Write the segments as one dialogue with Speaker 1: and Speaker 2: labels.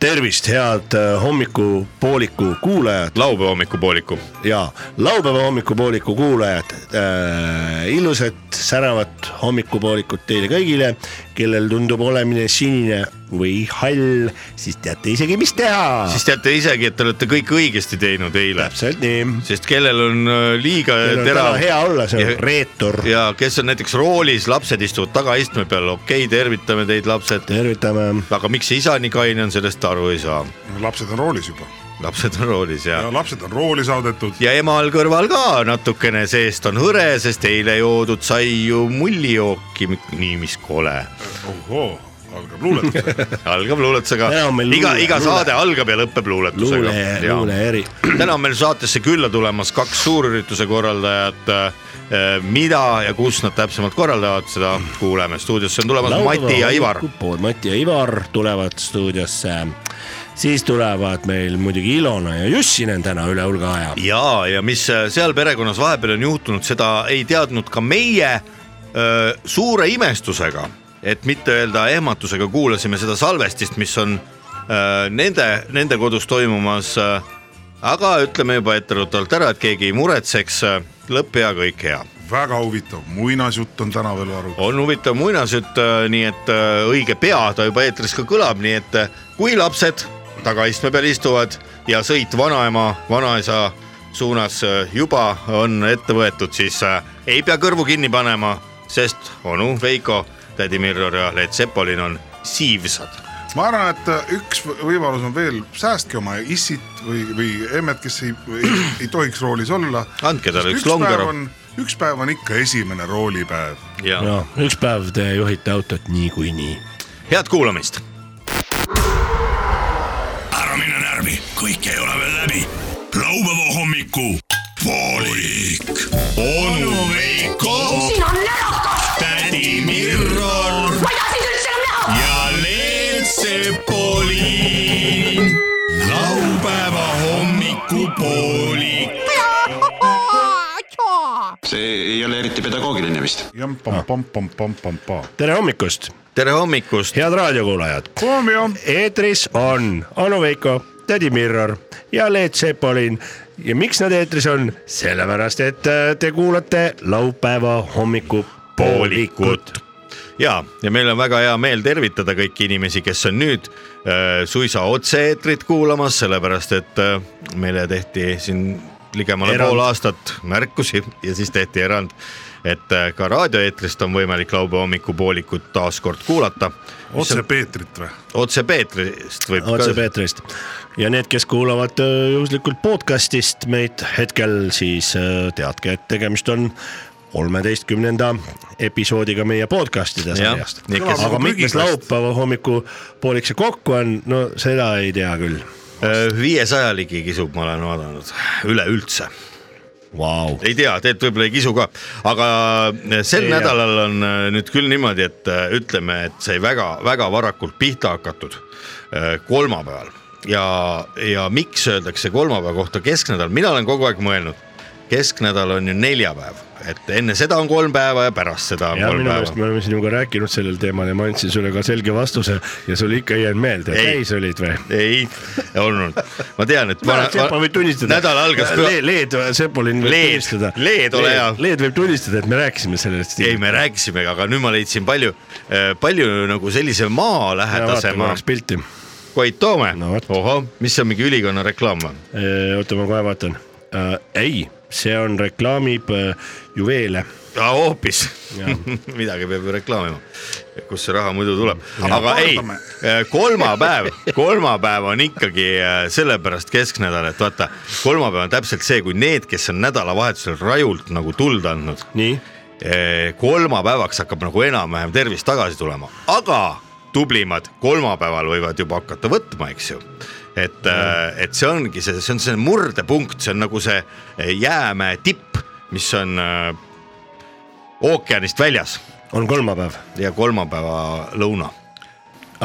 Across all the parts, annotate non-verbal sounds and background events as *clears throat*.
Speaker 1: tervist , head äh, hommikupooliku kuulajad
Speaker 2: laupäeva hommikupooliku .
Speaker 1: ja laupäeva hommikupooliku kuulajad äh, , ilusat säravat hommikupoolikut teile kõigile , kellel tundub olemine sinine või hall , siis teate isegi , mis teha .
Speaker 2: siis teate isegi , et te olete kõik õigesti teinud eile ,
Speaker 1: Ah. täpselt nii .
Speaker 2: sest kellel on äh, liiga
Speaker 1: meil on täna
Speaker 2: terav
Speaker 1: hea olla , see
Speaker 2: ja-
Speaker 1: on reetur .
Speaker 2: ja kes on näiteks roolis , lapsed istuvad tagaistme peal , okei okay, , tervitame teid , lapsed .
Speaker 1: tervitame ,
Speaker 2: aga miks see isa nii kaine on , sellest aru ei saa .
Speaker 3: lapsed on roolis juba
Speaker 2: lapsed on roolis ja,
Speaker 3: ja lapsed on rooli saadetud .
Speaker 2: ja emal kõrval ka natukene seest on hõre , sest eile joodud sai ju mullijooki , nii mis kole .
Speaker 3: ohoo , algab
Speaker 2: *laughs*
Speaker 3: luuletus .
Speaker 2: algab luuletusega
Speaker 1: Täna on meil ,
Speaker 2: iga ,
Speaker 1: luule-
Speaker 2: iga
Speaker 1: luule-
Speaker 2: saade algab ja lõpeb luuletusega
Speaker 1: luule , luule . eri .
Speaker 2: täna on meil saatesse külla tulemas kaks suurürituse korraldajat . mida ja kus nad täpsemalt korraldavad , seda kuuleme . stuudiosse on tulemas Mati ja Ivar .
Speaker 1: Mati ja Ivar tulevad stuudiosse . siis tulevad meil muidugi Ilona ja Jussin on täna üle hulga aja .
Speaker 2: ja , ja mis äh, seal perekonnas vahepeal on juhtunud , seda ei teadnud ka meie öö, suure imestusega , et mitte öelda ehmatusega kuulasime seda salvestist , mis on öö, nende , nende kodus toimumas . aga ütleme juba etteruttavalt ära , et keegi ei muretseks , lõpp hea , kõik hea
Speaker 3: väga huvitav muinasjutt on täna veel aru .
Speaker 2: on huvitav muinasjutt , nii et äh, õige pea ta juba eetris ka kõlab , nii et äh, kui lapsed tagaistme peal istuvad ja sõit vanaema , vanaisa suunas äh, juba on ette võetud , siis äh, ei pea kõrvu kinni panema , sest onu Veiko , tädi Mirror ja Leet Sepolin on siivsad .
Speaker 3: ma arvan , et äh, üks v- võimalus on veel , säästke oma issit või , või emmet , kes ei, ei , ei tohiks roolis olla .
Speaker 2: Andke talle üks
Speaker 3: päev
Speaker 2: longeru
Speaker 3: on , üks päev on ikka esimene roolipäev .
Speaker 2: ja no.
Speaker 1: no üks päev te juhite autot niikuinii .
Speaker 2: head kuulamist .
Speaker 4: ära mine närvi , kõik ei ole veel läbi . laupäeva hommiku poolik . onu Veiko ,
Speaker 5: siin on närakas ,
Speaker 4: tädi Mirror
Speaker 5: ma ei taha sind üldse enam näha .
Speaker 4: ja Leelt Sepolin . laupäeva hommiku poolik .
Speaker 6: see ei ole eriti pedagoogiline vist .
Speaker 2: Ah.
Speaker 1: tere hommikust ,
Speaker 2: tere hommikust .
Speaker 1: head raadiokuulajad .
Speaker 3: Kuomio ,
Speaker 1: eetris on Anu Veiko , tädi Mirror ja Leet Sepolin ja miks nad eetris on , sellepärast et äh, te kuulate laupäeva hommikupoolikut .
Speaker 2: ja , ja meil on väga hea meel tervitada kõiki inimesi , kes on nüüd äh, suisa otse-eetrit kuulamas , sellepärast et äh, meile tehti siin ligemale
Speaker 1: Erand.
Speaker 2: erand. pool aastat märkusi ja siis tehti erand , et äh, ka raadioeetrist on võimalik laupäeva hommikupoolikut taas kord kuulata .
Speaker 3: otse Peetrit või ?
Speaker 2: otse Peetrist võib
Speaker 1: otse
Speaker 2: ka ,
Speaker 1: Peetrist ja need , kes kuulavad äh, juhuslikult podcast'ist meid hetkel , siis äh, teadke , et tegemist on kolmeteistkümnenda episoodiga meie podcast'ide
Speaker 2: Jah,
Speaker 1: sarjast .
Speaker 2: nii, kes-
Speaker 1: aga mitmes laupäeva hommikupoolik see kokku on , no seda ei tea küll .
Speaker 2: äh, viiesaja ligi kisub , ma olen vaadanud üleüldse
Speaker 1: Vau ,
Speaker 2: ei tea , tegelikult võib-olla ei kisu ka , aga eh,
Speaker 1: Ei
Speaker 2: sel ei
Speaker 1: tea.
Speaker 2: nädalal on äh, nüüd küll niimoodi , et äh, ütleme , et sai väga-väga varakult pihta hakatud äh, kolmapäeval ja , ja miks öeldakse kolmapäeva kohta kesknädal , mina olen kogu aeg mõelnud , kesknädal on ju neljapäev , et enne seda on kolm päeva ja pärast seda on
Speaker 1: ja
Speaker 2: kolm
Speaker 1: minu meelest
Speaker 2: päeva .
Speaker 1: me oleme sinuga rääkinud sellel teemal ja ma andsin sulle ka selge vastuse ja sul ikka ei jäänud meelde ,
Speaker 2: Ei.
Speaker 1: täis olid või ?
Speaker 2: ei olnud , ma tean , et
Speaker 1: Mäletan, Sepa võib tunnistada .
Speaker 2: nädal algas
Speaker 1: Le . Leed , Sepolin võib
Speaker 2: Leed.
Speaker 1: tunnistada .
Speaker 2: Leed, ole hea.
Speaker 1: Leed võib tunnistada , et me rääkisime sellest .
Speaker 2: ei , me rääkisime , aga nüüd ma leidsin palju , palju nagu sellise maalähedase maa
Speaker 1: korraks pilti .
Speaker 2: Koit Toome
Speaker 1: No vot.
Speaker 2: ohoh , mis see on mingi ülikonna reklaam või ?
Speaker 1: oota , ma kohe vaatan . ei , see on , reklaamib öö, juveele .
Speaker 2: hoopis
Speaker 1: Jaa. ,
Speaker 2: *laughs* midagi peab ju reklaamima , kust see raha muidu tuleb , aga ei eh,
Speaker 3: kordame. ,
Speaker 2: kolmapäev , kolmapäev on ikkagi äh, sellepärast kesknädal , et vaata , kolmapäev on täpselt see , kui need , kes on nädalavahetusel rajult nagu tuld andnud ,
Speaker 1: nii .
Speaker 2: Eh, kolmapäevaks hakkab nagu enam-vähem tervis tagasi tulema , aga tublimad kolmapäeval võivad juba hakata võtma , eks ju . et , et see ongi see , see on see murdepunkt , see on nagu see jäämäe tipp , mis on äh, ookeanist väljas
Speaker 1: on kolmapäev ,
Speaker 2: ja kolmapäeva lõuna .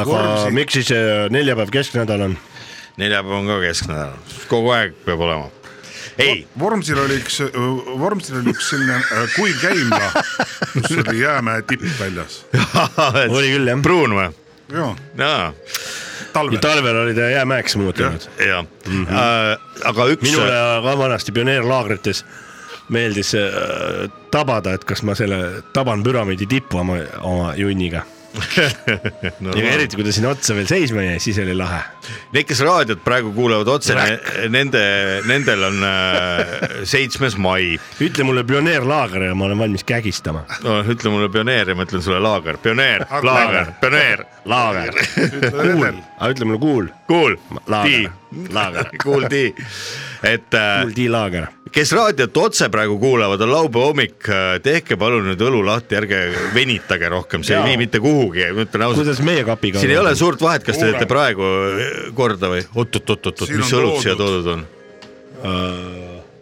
Speaker 1: aga
Speaker 3: Korvsi.
Speaker 1: miks siis öö, neljapäev kesknädal on ?
Speaker 2: neljapäev on ka kesknädal , kogu aeg peab olema . ei ,
Speaker 3: Vormsil oli üks , Vormsil oli üks selline äh, kuiv käimla , kus oli jäämäe tipp väljas .
Speaker 1: *laughs* Oli küll, jah.
Speaker 2: pruun või ?
Speaker 3: jaa ,
Speaker 2: jaa ,
Speaker 3: talvel
Speaker 1: ja . talvel oli ta jäämäeks muutunud .
Speaker 2: ja mm , -hmm. aga üks .
Speaker 1: Mhm. minule ka vanasti pioneerlaagrites meeldis äh, tabada , et kas ma selle taban püramiidi tipu oma , oma junniga .
Speaker 2: *laughs* no,
Speaker 1: ja eriti , kui ta sinna otsa veel seisma jäi , siis oli lahe .
Speaker 2: Need , kes raadiot praegu kuulevad otse
Speaker 1: Räkk. ,
Speaker 2: nende , nendel on äh, seitsmes mai .
Speaker 1: ütle mulle pioneerlaager ja ma olen valmis kägistama .
Speaker 2: no ütle mulle pioneer ja ma ütlen sulle laager , pioneer , laager , pioneer ,
Speaker 1: laager , kuul , aga ütle mulle kuul ,
Speaker 2: kuul ,
Speaker 1: laager
Speaker 2: tii ,,
Speaker 1: laager ,
Speaker 2: kuuldi , et äh,
Speaker 1: kuul , tii , laager .
Speaker 2: kes raadiot otse praegu kuulavad , on laupäeva hommik , tehke palun nüüd õlu lahti , ärge venitage rohkem , see
Speaker 1: Jaa.
Speaker 2: ei vii mitte kuhugi , ma ütlen ausalt .
Speaker 1: kuidas meie kapiga
Speaker 2: siin ei ole ? suurt vahet , kas te
Speaker 3: Kuule.
Speaker 2: teete praegu äh, korda või oot-oot-oot-oot ,
Speaker 3: Siin
Speaker 2: mis
Speaker 3: on
Speaker 2: õlut siia
Speaker 3: loodud.
Speaker 2: toodud on ?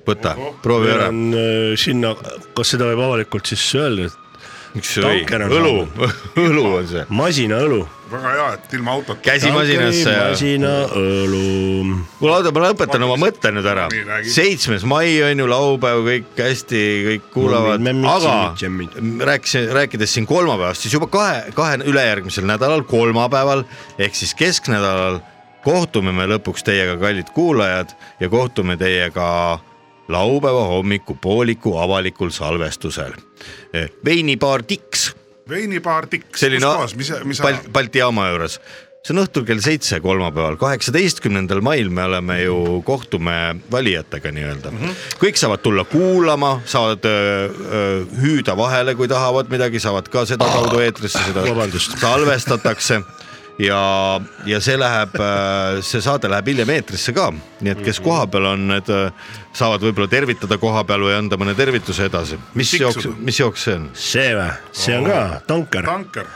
Speaker 2: võta , proovi
Speaker 1: meil
Speaker 2: ära ,
Speaker 1: on äh, sinna , kas seda võib avalikult siis öelda , et
Speaker 2: miks ei
Speaker 1: tanker , on
Speaker 2: õlu , *laughs* õlu on see .
Speaker 1: masinaõlu .
Speaker 3: väga hea , et ilma autota .
Speaker 2: käsimasinasse ja
Speaker 1: masinaõlu .
Speaker 2: äh, kuule , oota , ma lõpetan oma mõtte nüüd ära
Speaker 3: Nii, . räägi.
Speaker 2: seitsmes mai on ju laupäev , kõik hästi , kõik kuulavad ,
Speaker 1: Mõmmid, mämmid, sõmmid,
Speaker 2: aga rääkisin , rääkides siin kolmapäevast , siis juba kahe , kahe ülejärgmisel nädalal , kolmapäeval ehk siis kesknädalal kohtume me lõpuks teiega , kallid kuulajad , ja kohtume teiega laupäeva hommikupooliku avalikul salvestusel . veinipaar Tiks
Speaker 3: veinipaar tiks .
Speaker 2: selline
Speaker 3: mis , mis
Speaker 2: Bal Balti jaama juures . see on õhtul kell seitse kolmapäeval , kaheksateistkümnendal mail me oleme ju , kohtume valijatega nii-öelda mm . -hmm. kõik saavad tulla kuulama , saavad öö, öö, hüüda vahele , kui tahavad midagi , saavad ka sedakaudu eetrisse , seda
Speaker 1: Vabandust.
Speaker 2: salvestatakse ja , ja see läheb , see saade läheb hiljem eetrisse ka , nii et kes kohapeal on , need öö, saavad võib-olla tervitada kohapeal või anda mõne tervituse edasi . mis
Speaker 3: Tiksuda.
Speaker 2: jooks , mis jooks see on ?
Speaker 1: see või , see on ka tanker .
Speaker 3: tanker .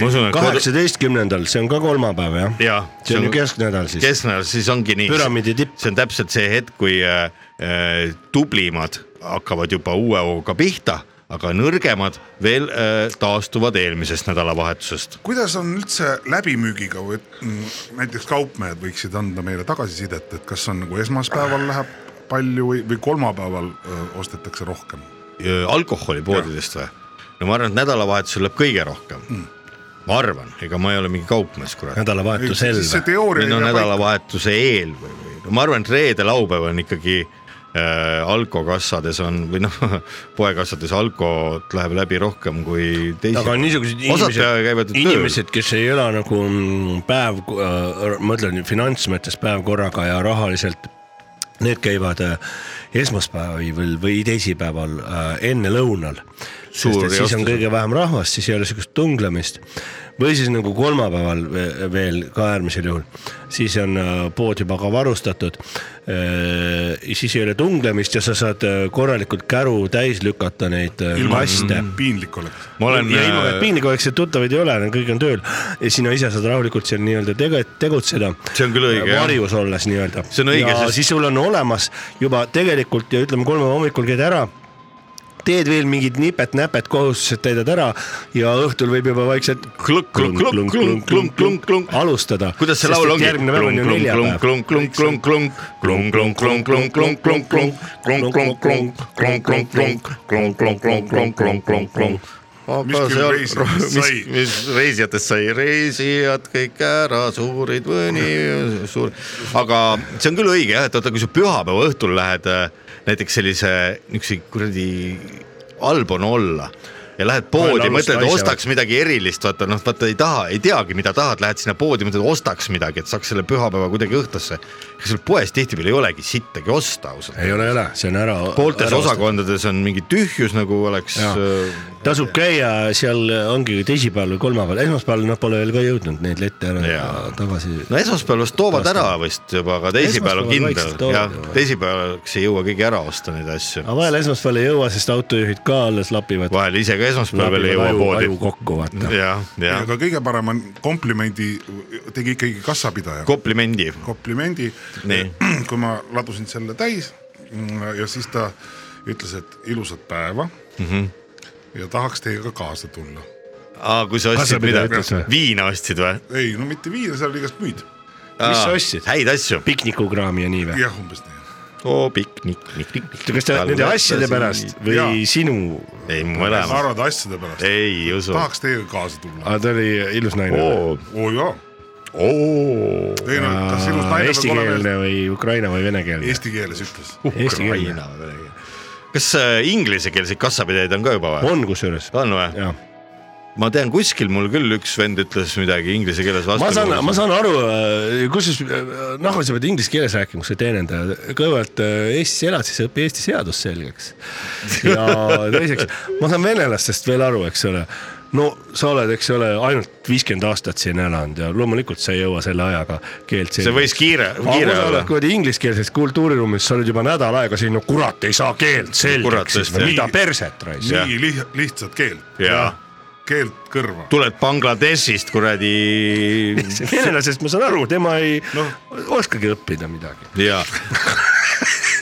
Speaker 2: ma usun , et kodu-
Speaker 1: kaheksateistkümnendal , see on ka kolmapäev jah ?
Speaker 2: jaa ,
Speaker 1: see on ju kesknädal siis .
Speaker 2: kesknädal , siis ongi nii .
Speaker 1: Püramiidi tipp.
Speaker 2: see on täpselt see hetk , kui äh, äh, tublimad hakkavad juba uue hooga pihta , aga nõrgemad veel äh, taastuvad eelmisest nädalavahetusest .
Speaker 3: kuidas on üldse läbimüügiga või et, mm, näiteks kaupmehed võiksid anda meile tagasisidet , et kas on nagu esmaspäeval läheb palju või , või kolmapäeval öö, ostetakse rohkem ?
Speaker 2: äh, alkoholipoodidest või ? no ma arvan , et nädalavahetusel läheb kõige rohkem mm. . ma arvan , ega ma ei ole mingi kaupmees , kurat .
Speaker 1: nädalavahetusel
Speaker 3: see
Speaker 1: või ?
Speaker 3: teooria
Speaker 2: või no
Speaker 3: ei pea paika .
Speaker 2: nädalavahetuse eel või , või no ma arvan , et reede-laupäev on ikkagi äh, alkokassades on või noh , *laughs* poekassades alkot läheb läbi rohkem kui teisi .
Speaker 1: aga on niisugused
Speaker 2: osad peaaegu
Speaker 1: inimesed ,
Speaker 2: käivad ju tööl .
Speaker 1: inimesed , kes ei ela nagu mm, päev , ma ütlen finantsmõttes päev korraga ja rahaliselt , need käivad äh, esmaspäeval või teisipäeval äh, enne lõunal . sest
Speaker 2: Suuri
Speaker 1: et siis on
Speaker 2: ostusid.
Speaker 1: kõige vähem rahvast , siis ei ole sihukest tunglemist . või siis nagu kolmapäeval ve- veel ka äärmisel juhul , siis on äh, pood juba ka varustatud . siis ei ole tunglemist ja sa saad äh, korralikult käru täis lükata neid äh, kaste
Speaker 2: Mm.
Speaker 3: piinlik oleks .
Speaker 2: ma olen
Speaker 1: ja ilma , et
Speaker 2: äh, ,
Speaker 1: piinlik oleks , et tuttavaid ei ole , kõik on tööl ja sina ise saad rahulikult seal nii-öelda tege- , tegutseda .
Speaker 2: See on küll õige, jah.
Speaker 1: varjus olles nii-öelda .
Speaker 2: See on õige,
Speaker 1: ja
Speaker 2: sest-
Speaker 1: sest... siis sul on olemas juba tegelikult ja ütleme , kolme hommikul käid ära teed veel mingid nipet-näpet , kohustused täidad ära ja õhtul võib juba vaikselt
Speaker 2: Klõnk, klõnk, klõnk, klõnk, klõnk, klõnk, klõnk.
Speaker 1: alustada .
Speaker 2: kuidas see laul ongi ?
Speaker 1: järgmine päev on ju neljapäev .
Speaker 3: Mis küll reisidest
Speaker 2: *laughs* mis ,
Speaker 3: sai?
Speaker 2: mis reisijatest sai , reisijad kõik ära suurid või nii suur , aga see on küll õige jah , et vaata , kui sa pühapäeva õhtul lähed äh, näiteks sellise niisuguse kuradi , halb on olla ja lähed poodi ,
Speaker 1: Mõelda
Speaker 2: mõtled ,
Speaker 1: alust
Speaker 2: ostaks midagi erilist , vaata noh , vaata ei taha , ei teagi , mida tahad , lähed sinna poodi , mõtled ostaks midagi , et saaks selle pühapäeva kuidagi õhtusse . ega seal poes tihtipeale ei olegi sittagi osta ausalt .
Speaker 1: ei ole , ei ole , see on ära .
Speaker 2: pooltes . osakondades on mingi tühjus , nagu oleks äh,
Speaker 1: Jaa. tasub käia , seal ongi teisipäeval või kolmapäeval , esmaspäeval nad pole veel ka jõudnud neid lette ära
Speaker 2: Jaa.
Speaker 1: tagasi .
Speaker 2: no esmaspäevast toovad ära vist juba , aga teisipäeval on
Speaker 1: Esmaspäeval vaikselt
Speaker 2: kindel ,
Speaker 1: toovad
Speaker 2: jah
Speaker 1: juba. ,
Speaker 2: teisipäevaks ei jõua keegi ära osta neid asju .
Speaker 1: aga vahel esmaspäeval ei jõua , sest autojuhid ka alles lapivad .
Speaker 2: vahel ise ka esmaspäeval ei jõua
Speaker 1: aju
Speaker 2: poodi .
Speaker 1: kokku vaata .
Speaker 2: jah , jah ,
Speaker 3: aga kõige parem on komplimendi tegi ikkagi kassapidaja .
Speaker 2: komplimendi .
Speaker 3: komplimendi
Speaker 2: Nii. .
Speaker 3: *clears throat* kui ma ladusin selle täis mm, ja siis ta ütles , et ilusat päeva mm .
Speaker 2: Mhm.
Speaker 3: -hmm. ja tahaks teiega kaasa tulla .
Speaker 2: aa , kui sa ostsid
Speaker 1: Kassapidaja
Speaker 2: mida
Speaker 1: ütles või? ,
Speaker 2: viina ostsid või ?
Speaker 3: ei , no mitte viina , seal oli igast muid .
Speaker 1: mis sa ostsid ?
Speaker 2: häid asju .
Speaker 1: piknikukraami ja nii või ?
Speaker 3: jah , umbes nii .
Speaker 2: oo piknik , piknik , piknik .
Speaker 1: kas ta nende asjade pärast ? või ja.
Speaker 3: Jaa.
Speaker 1: sinu ?
Speaker 2: ei ,
Speaker 3: sa
Speaker 2: mõlemad ,
Speaker 3: arvad asjade pärast ?
Speaker 2: ei usu .
Speaker 3: tahaks teiega kaasa tulla .
Speaker 1: aga ta oli ilus naine oh, .
Speaker 2: oo ,
Speaker 3: oo jaa ,
Speaker 2: Ah. oo .
Speaker 3: ei no kas ilus naine peab olema
Speaker 1: Eestikeelne või ukraina või venekeelne ?
Speaker 3: eesti keeles ütles .
Speaker 2: Uh,
Speaker 1: Eestikeelne.
Speaker 2: Ukraina või midagi . kas äh, inglisekeelseid kassapidajaid on ka juba või ?
Speaker 1: on kusjuures .
Speaker 2: on või ?
Speaker 1: jah ,
Speaker 2: ma tean kuskil mul küll üks vend ütles midagi inglise keeles vastu .
Speaker 1: ma saan , ma saan aru , äh, kusjuures noh , sa pead inglise keeles rääkima , kui sa teenindad , kõigepealt äh, Eestis elad , siis õpi Eesti seadus selgeks . ja
Speaker 2: *laughs*
Speaker 1: teiseks , ma saan venelastest veel aru , eks ole no sa oled , eks ole , ainult viiskümmend aastat siin elanud ja loomulikult sa ei jõua selle ajaga keelt
Speaker 2: see võis kiire ,
Speaker 1: aga kui
Speaker 2: kiire
Speaker 1: sa
Speaker 2: olla
Speaker 1: oled . kuradi ingliskeelses kultuuriruumis , sa oled juba nädal aega siin , no kurat , ei saa keelt
Speaker 2: Kurat,
Speaker 1: selgeks ,
Speaker 2: tõesti.
Speaker 1: mida perset raisk .
Speaker 2: Jah.
Speaker 3: nii liht- , lihtsat keelt ,
Speaker 2: jaa ,
Speaker 3: keelt kõrva .
Speaker 2: tuled Bangladeshist kuradi
Speaker 1: venelasest ma saan aru , tema ei no.
Speaker 3: Noh.
Speaker 1: oskagi õppida midagi . *laughs*
Speaker 2: ja .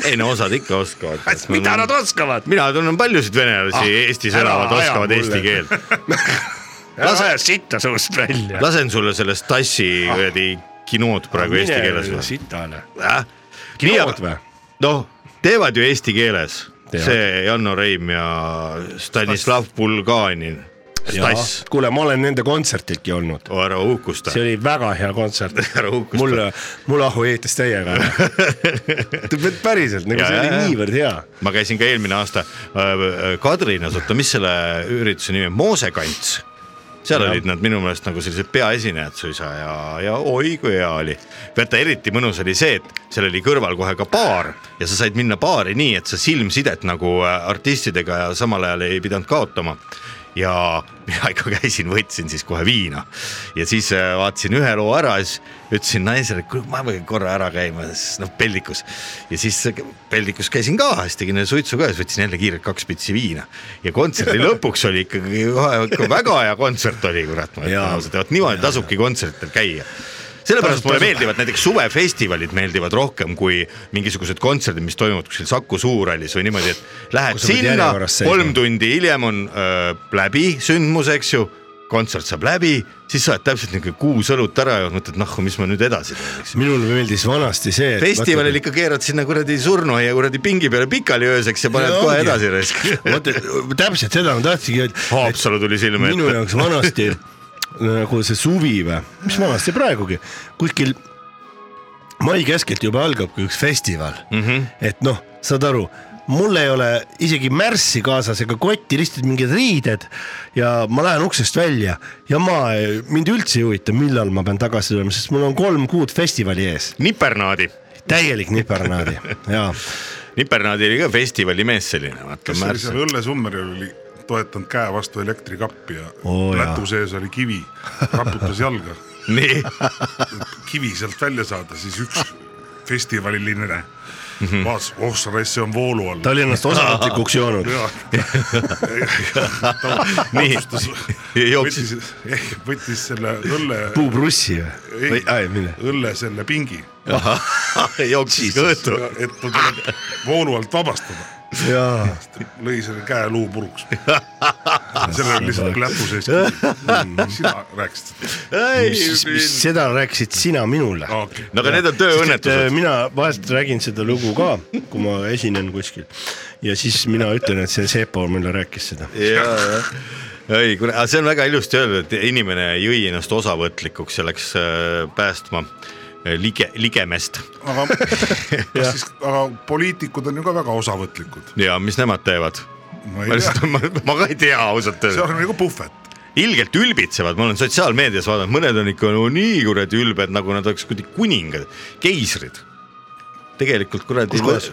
Speaker 2: ei no osad ikka oskavad .
Speaker 1: mida nad oskavad ?
Speaker 2: mina tunnen paljusid venelasi ah, , Eestis
Speaker 1: ära
Speaker 2: elavad ,
Speaker 1: aja
Speaker 2: oskavad
Speaker 1: mulle.
Speaker 2: eesti keelt .
Speaker 1: ära aja sitta suust välja .
Speaker 2: lasen sulle sellest tassi
Speaker 1: Ah.
Speaker 2: kuradi kinood praegu eesti keeles või ?
Speaker 1: sitale .
Speaker 2: nii ,
Speaker 1: Ah, kinood
Speaker 2: aga
Speaker 1: või ?
Speaker 2: noh , teevad ju eesti keeles ,
Speaker 1: Teevad.
Speaker 2: see Janno Reim ja Stanislav Bulganin , Stass ,
Speaker 1: kuule , ma olen nende kontsertilgi olnud ,
Speaker 2: Oh, ära uhkusta
Speaker 1: see . oli väga hea kontsert
Speaker 2: *laughs* Ära uhkusta.
Speaker 1: mulle , mul ahu ehitas
Speaker 2: *laughs*
Speaker 1: täiega ära . päriselt , nagu
Speaker 2: Jaa,
Speaker 1: see
Speaker 2: jaa,
Speaker 1: oli
Speaker 2: jaa.
Speaker 1: niivõrd hea .
Speaker 2: ma käisin ka eelmine aasta äh, Kadrinas , oota , mis selle ürituse nimi on , Moosekants . seal ja. olid nad minu meelest nagu sellised peaesinejad suisa ja , ja oi kui hea oli . vaata eriti mõnus oli see , et seal oli kõrval kohe ka baar ja sa said minna baari nii , et sa silmsidet nagu äh, artistidega ja samal ajal ei pidanud kaotama ja *laughs* mina ikka käisin , võtsin siis kohe viina ja siis äh, vaatasin ühe loo ära ja siis ütlesin naisele , et kuule , ma pean korra ära käima , siis noh peldikus ja siis äh, peldikus käisin ka , siis tegin ühe suitsu ka ja siis võtsin jälle kiirelt kaks pitsi viina ja kontserdi lõpuks oli ikkagi kohe- ikka väga hea kontsert oli , kurat , ma
Speaker 1: Jaa.
Speaker 2: ütlen ausalt , vot niimoodi tasubki kontsertidel käia sellepärast mulle meeldivad näiteks suvefestivalid meeldivad rohkem kui mingisugused kontserdid , mis toimuvad kuskil Saku Suurhallis või niimoodi , et lähed
Speaker 1: Kus sa pead
Speaker 2: sinna
Speaker 1: järjekorras , seisma.
Speaker 2: kolm tundi hiljem on öö, läbi sündmus , eks ju , kontsert saab läbi , siis sa oled täpselt niisugune kuus õlut ära ja mõtled , noh , mis ma nüüd edasi teen , eks ju .
Speaker 1: minule meeldis vanasti see .
Speaker 2: festivalil ikka keerad sinna kuradi surnuaia kuradi pingi peale pikali ööseks ja paned
Speaker 1: No
Speaker 2: kohe
Speaker 1: ongi.
Speaker 2: edasi raisk .
Speaker 1: *laughs* vaata täpselt seda ma tahtsingi öelda , et
Speaker 2: Haapsalu tuli silme
Speaker 1: minu
Speaker 2: ette .
Speaker 1: jaoks vanasti nagu see suvi või , mis vanasti praegugi , kuskil mai keskelt juba algabki üks festival mm , -hmm. et noh , saad aru , mul ei ole isegi märssi kaasas ega kotti , lihtsalt mingid riided ja ma lähen uksest välja ja ma , mind üldse ei huvita , millal ma pean tagasi tulema , sest mul on kolm kuud festivali ees ,
Speaker 2: Nipernaadi ,
Speaker 1: täielik nipernaadi ja
Speaker 2: Nipernaadi oli ka festivalimees selline , vaata
Speaker 3: kes oli
Speaker 2: märts
Speaker 3: seal . õllesummeril , oli toetanud käe vastu elektrikappi ja
Speaker 1: Oo, jaa.
Speaker 3: lätu sees oli kivi , raputas jalga ,
Speaker 2: *laughs* nii
Speaker 3: kivi sealt välja saada , siis üks
Speaker 2: *laughs*
Speaker 3: festivaliline
Speaker 2: Mhm.
Speaker 3: vaatas , oh sa raisk , see on voolu all
Speaker 1: ta . oli ennast osakutlikuks joonud .
Speaker 3: jaa . ta
Speaker 2: Nii.
Speaker 3: otsustas ,
Speaker 2: jooksis
Speaker 3: võttis , võttis selle õlle ,
Speaker 1: puuprussi või ? või , ai , mille ?
Speaker 3: õlle selle pingi ,
Speaker 2: *laughs* jooksis kõõtu .
Speaker 3: et ta tuleb voolu alt vabastada .
Speaker 1: jaa ,
Speaker 3: lõi selle käe luu
Speaker 1: *laughs*
Speaker 3: puruks . sellel oli lihtsalt läpu sees . sina rääkisid .
Speaker 1: mis , mis seda rääkisid sina minule .
Speaker 3: okei ,
Speaker 2: no aga need on tööõnnetused .
Speaker 1: mina vahest räägin seda lugu ka , kui ma esinen kuskil ja siis mina ütlen , et see Sepo mulle rääkis seda .
Speaker 2: ei , kuule , aga see on väga ilusti öeldud , et inimene jõi ennast osavõtlikuks ja läks äh, päästma äh, lige , ligemest
Speaker 3: aga kas siis , aga poliitikud on ju ka väga osavõtlikud .
Speaker 2: ja mis nemad teevad ?
Speaker 3: ma
Speaker 2: ma
Speaker 3: ei
Speaker 2: lihtsalt ,
Speaker 3: tea ,
Speaker 2: ma, *laughs* ma ka ei tea ausalt
Speaker 3: see
Speaker 2: öeldes ,
Speaker 3: on nagu puhvet .
Speaker 2: ilgelt ülbitsevad , ma olen sotsiaalmeedias vaadanud , mõned on ikka no nii kuradi ülbed , nagu nad oleks kuidagi kuningad , keisrid . tegelikult kuradi .
Speaker 1: kohas?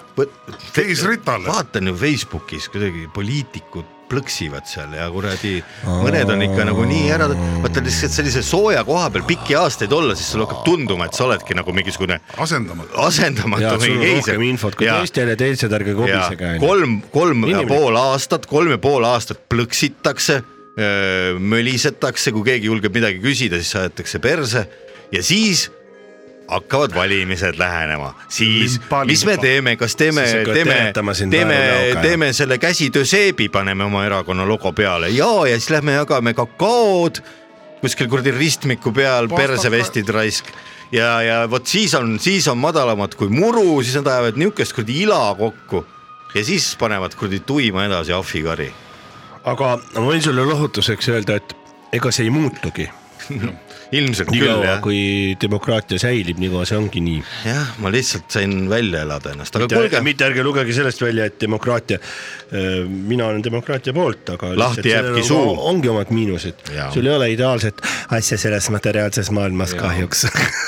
Speaker 3: Keisritale.
Speaker 2: vaatan ju Facebookis kuidagi poliitikud plõksivad seal ja kuradi mõned on ikka nagu nii ära , vaata lihtsalt sellise sooja koha peal pikki aastaid olla , siis sulle hakkab tunduma , et sa oledki nagu mingisugune
Speaker 3: asendamatu .
Speaker 1: ja
Speaker 2: asendamatu
Speaker 1: et sul on
Speaker 2: mingi keiser
Speaker 1: rohkem infot kui
Speaker 2: Jaa.
Speaker 1: teistel ja teised ärge
Speaker 2: Ja
Speaker 1: kobisege .
Speaker 2: kolm , kolm ja
Speaker 1: Inimlik.
Speaker 2: pool aastat , kolm ja pool aastat plõksitakse , mölisetakse , kui keegi julgeb midagi küsida , siis aetakse perse ja siis hakkavad valimised lähenema , siis
Speaker 3: Limpa,
Speaker 2: mis me
Speaker 3: limpa.
Speaker 2: teeme , kas teeme
Speaker 1: Siis , hakkavad
Speaker 2: teeme
Speaker 1: teletama , sind
Speaker 2: teeme
Speaker 1: Aero Laukaga. ,
Speaker 2: teeme selle käsitöö seebi , paneme oma erakonna logo peale ja , ja siis lähme jagame kakaod kuskil kuradi ristmiku peal ,
Speaker 3: Pastaka-
Speaker 2: persevestid raisk ja , ja vot siis on , siis on madalamad kui muru , siis nad ajavad niukest kuradi ila kokku ja siis panevad kuradi tuima edasi ahvikari .
Speaker 1: aga ma võin sulle lohutuseks öelda , et ega see ei muutugi .
Speaker 2: ilmselt küll
Speaker 1: niikaua
Speaker 2: jah ,
Speaker 1: kui demokraatia säilib , niikaua see ongi nii .
Speaker 2: jah , ma lihtsalt sain välja elada ennast , aga
Speaker 1: kuulge ,
Speaker 2: kuulge ,
Speaker 1: mitte ärge lugege sellest välja , et demokraatia , mina olen demokraatia poolt , aga .
Speaker 2: Lahti jääbki suu.
Speaker 1: ongi omad miinused
Speaker 2: Jaa. ,
Speaker 1: sul ei ole ideaalset asja selles materiaalses maailmas ja. kahjuks .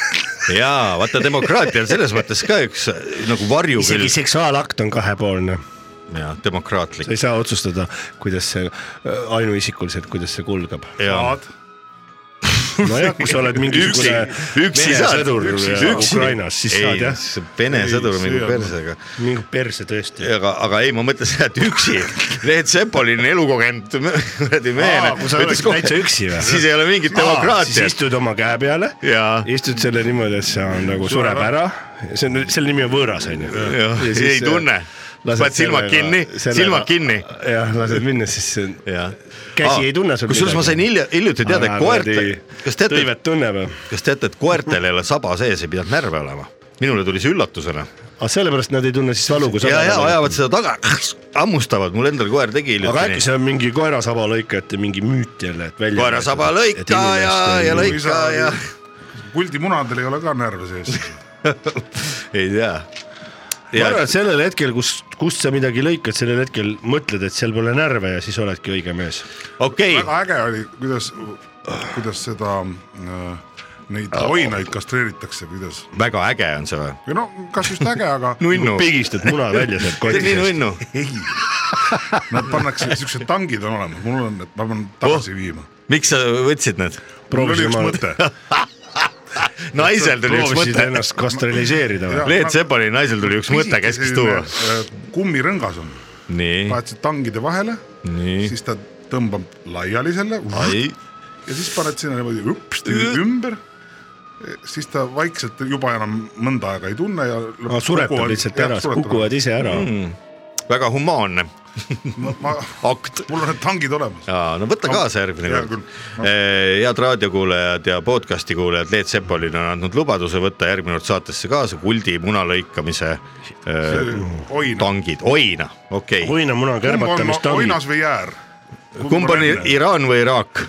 Speaker 1: *laughs*
Speaker 2: jaa , vaata demokraatia on selles mõttes ka üks nagu varjukülg
Speaker 1: isegi , seksuaalakt on kahepoolne ,
Speaker 2: jah , demokraatlik
Speaker 1: sa ei saa otsustada , kuidas see äh, ainuisikuliselt , kuidas see kulgeb .
Speaker 2: ja
Speaker 1: *laughs* nojah , kui sa oled mingisugune
Speaker 2: üksi saad ,
Speaker 1: sõdur Ukrainas , siis saad jah ,
Speaker 2: Vene
Speaker 3: Ei,
Speaker 2: sõdur mingi
Speaker 3: see on-
Speaker 2: persega ,
Speaker 1: mingi perse tõesti .
Speaker 2: aga , aga ei , ma mõtlen seda , et üksi , Leet Sepolin elukogenud kuradi mehena
Speaker 1: kui sa oleks täitsa üksi või?
Speaker 2: siis ei ole mingit
Speaker 1: siis
Speaker 2: demokraatiat
Speaker 1: istud oma käe peale ,
Speaker 2: ja ,
Speaker 1: istud selle niimoodi , et see on nagu sureb ära , see on , selle nimi on võõras onju .
Speaker 2: ja ei
Speaker 1: äh,
Speaker 2: tunne , paned silmad kinni , silmad kinni .
Speaker 1: jah , lased minna , siis see on ,
Speaker 2: jah .
Speaker 1: Käsi ei tunne sul
Speaker 2: kusjuures ma
Speaker 1: midagi.
Speaker 2: sain hilja , hiljuti teada , et koerte , kas teate ,
Speaker 1: tõivet tunneb või ?
Speaker 2: kas teate , et koertel ei ole saba sees , ei pidanud närve olema ? minule tuli see üllatusena
Speaker 1: aga Ah, sellepärast nad ei tunne siis valu , kui sa
Speaker 2: ja , ja . ajavad seda taga , hammustavad , mul endal koer tegi
Speaker 1: aga äkki
Speaker 2: hiljuti nii .
Speaker 1: see on mingi koerasaba lõikajate mingi müüt jälle , et välja .
Speaker 2: koerasaba lõika ja , ja . lõika ja
Speaker 3: kuldimunadel ei ole ka närve sees .
Speaker 2: ei tea .
Speaker 1: ma arvan , et sellel hetkel , kus , kust sa midagi lõikad , sellel hetkel mõtled , et seal pole närve ja siis oledki õige mees .
Speaker 2: okei ,
Speaker 3: väga äge oli , kuidas , kuidas seda , neid
Speaker 1: Äh,
Speaker 3: loinaid kastreeritakse , kuidas .
Speaker 2: väga äge on see või ?
Speaker 3: või no kas just äge , aga
Speaker 1: *laughs*
Speaker 2: nunnu ,
Speaker 1: pigistad muna välja sealt
Speaker 2: tee nii
Speaker 1: kotist .
Speaker 2: nunnu .
Speaker 3: ei , nad pannakse , siuksed tangid on olemas , mul on , et ma pean tagasi viima .
Speaker 2: miks sa võtsid need ?
Speaker 3: mul oli
Speaker 1: Oh. proovisin
Speaker 3: üks
Speaker 1: ma , *laughs*
Speaker 3: mõte ,
Speaker 2: naisel tuli üks
Speaker 1: proovisid
Speaker 2: mõte ,
Speaker 1: ennast kastriliseerida või ?
Speaker 2: Leet Sepani naisel tuli üks mõte keskis tuua .
Speaker 3: äh, kummirõngas on ,
Speaker 2: nii ,
Speaker 3: paned siit tangide vahele ,
Speaker 2: nii ,
Speaker 3: siis ta tõmbab laiali selle ja
Speaker 2: ai ,
Speaker 3: siis paned sinna niimoodi hüpsti ümber siis ta vaikselt juba enam mõnda aega ei tunne ja .
Speaker 1: suretab lihtsalt ära , kukuvad ise ära .
Speaker 3: Mm.
Speaker 2: väga humaanne
Speaker 3: ära .
Speaker 2: akt
Speaker 3: mul on need tangid olemas .
Speaker 2: jaa , no võta kaasa järgmine
Speaker 3: Hea
Speaker 2: kord
Speaker 3: küll. .
Speaker 2: head raadiokuulajad ja podcast'i kuulajad , Leet Sepolin on andnud lubaduse võtta järgmine kord saatesse kaasa kuldi muna lõikamise eh,
Speaker 3: oina ,
Speaker 2: tangid , oina , okei okay. .
Speaker 1: oinamuna
Speaker 3: kumb on
Speaker 1: kärbatamist on .
Speaker 3: oinas või jäär ?
Speaker 2: kumb on I- Iraan või Iraak ?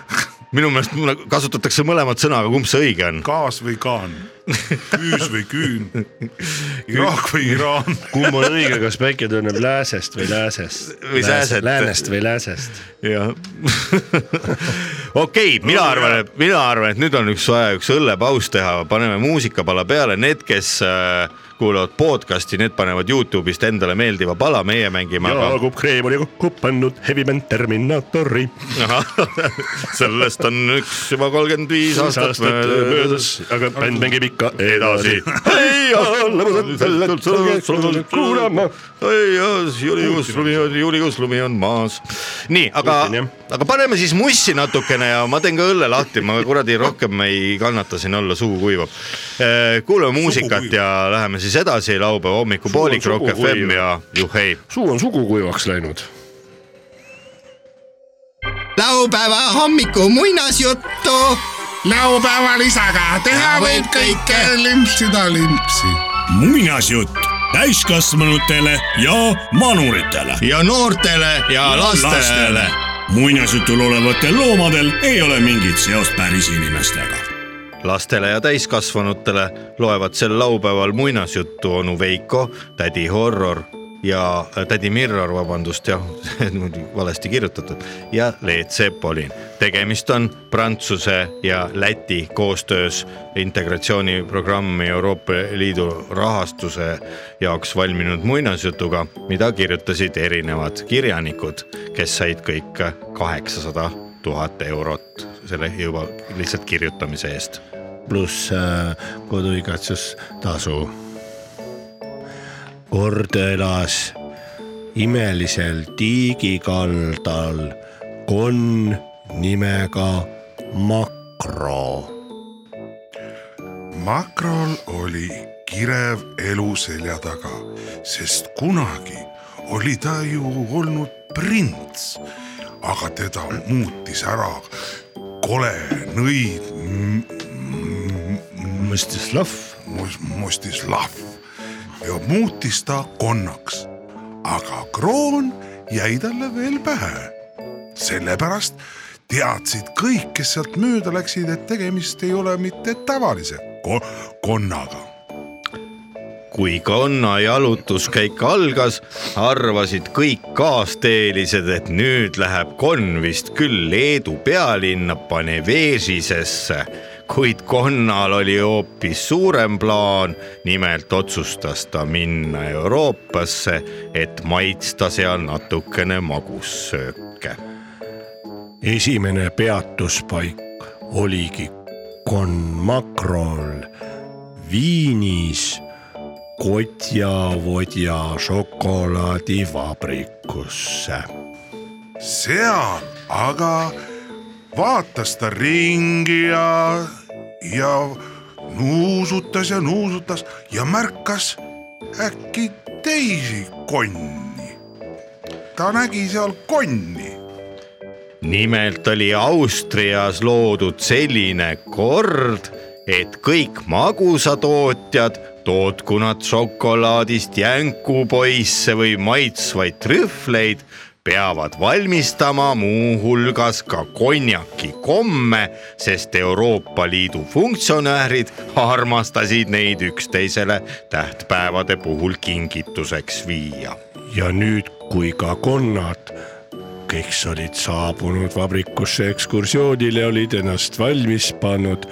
Speaker 2: minu meelest mul kasutatakse mõlemat sõna , aga kumb see õige on ?
Speaker 3: kaas või kaan , küüs või *laughs* küün , Iraak või Iraan ,
Speaker 1: kumb on õige , kas päike tunneb lääsest või lääsest ?
Speaker 2: Või sääsest.
Speaker 1: läänest või lääsest ?
Speaker 2: jah . *laughs* okei , mina arvan , et mina arvan , et nüüd on üks vaja üks õllepaus teha , paneme muusikapala peale , need , kes äh, kuulavad podcast'i , need panevad Youtube'ist endale meeldiva pala , meie mängime aga
Speaker 1: Jaagup Kreem oli kokku pannud Heavy Man Terminaatori .
Speaker 2: Ahah, *laughs* sellest on üks juba kolmkümmend viis aastat möödas .
Speaker 1: aga bänd mängib ikka edasi . kuulama .
Speaker 2: juulikuus lumi on , juulikuus lumi on maas . nii , aga
Speaker 1: Jutin, jah. ,
Speaker 2: aga paneme siis mussi natukene ja ma teen ka õlle lahti , ma kuradi rohkem ei kannata siin olla , suu kuivab . kuulame muusikat
Speaker 3: kuivab.
Speaker 2: ja läheme siis edasi laupäeva hommikupoolik
Speaker 1: Suu on
Speaker 2: Rock
Speaker 1: sugu
Speaker 2: FM
Speaker 1: kuiv.
Speaker 2: ja juhhei .
Speaker 1: suu on sugukuivaks läinud .
Speaker 7: laupäeva hommiku muinasjuttu
Speaker 8: laupäeval isaga teha võib kõike , limpsida limpsi .
Speaker 4: muinasjutt täiskasvanutele ja manuritele .
Speaker 2: ja noortele ja lastele .
Speaker 4: muinasjutul olevatel loomadel ei ole mingit seost päris inimestega .
Speaker 2: lastele ja täiskasvanutele loevad sel laupäeval muinasjuttu onu Veiko , tädi Horror ja äh, tädi Mirror , vabandust jah , *laughs* valesti kirjutatud ja Leet Sepolin . tegemist on Prantsuse ja Läti koostöös integratsiooniprogrammi Euroopa Liidu rahastuse jaoks valminud muinasjutuga , mida kirjutasid erinevad kirjanikud , kes said kõik kaheksasada tuhat eurot selle juba lihtsalt kirjutamise eest
Speaker 1: pluss äh, koduigatsustasu . kord elas imelisel tiigikaldal konn nimega Makro .
Speaker 3: makrol oli kirev elu selja taga , sest kunagi oli ta ju olnud prints , aga teda muutis ära kole nõid m- m-
Speaker 1: Mstislav ,
Speaker 8: Mustislav ja muutis ta konnaks . aga kroon jäi talle veel pähe . sellepärast teadsid kõik , kes sealt mööda läksid , et tegemist ei ole mitte tavalise ko konnaga .
Speaker 2: kui konna jalutuskäik algas , arvasid kõik kaasteelised , et nüüd läheb konn vist küll Leedu pealinna Panevežisesse , kuid konnal oli hoopis suurem plaan . nimelt otsustas ta minna Euroopasse , et maitsta seal natukene magussööke .
Speaker 1: esimene peatuspaik oligi Konmakrol Viinis kotjavodja šokolaadivabrikusse .
Speaker 8: seal aga vaatas ta ringi ja , ja nuusutas ja nuusutas ja märkas äkki teisi konni . ta nägi seal konni
Speaker 2: nimelt oli Austrias loodud selline kord , et kõik magusatootjad tootku nad šokolaadist jänkupoisse või maitsvaid trühvleid , peavad valmistama muuhulgas ka konjaki komme , sest Euroopa Liidu funktsionäärid armastasid neid üksteisele tähtpäevade puhul kingituseks viia
Speaker 1: ja nüüd , kui ka konnad , kes olid saabunud vabrikusse ekskursioonile , olid ennast valmis pannud ,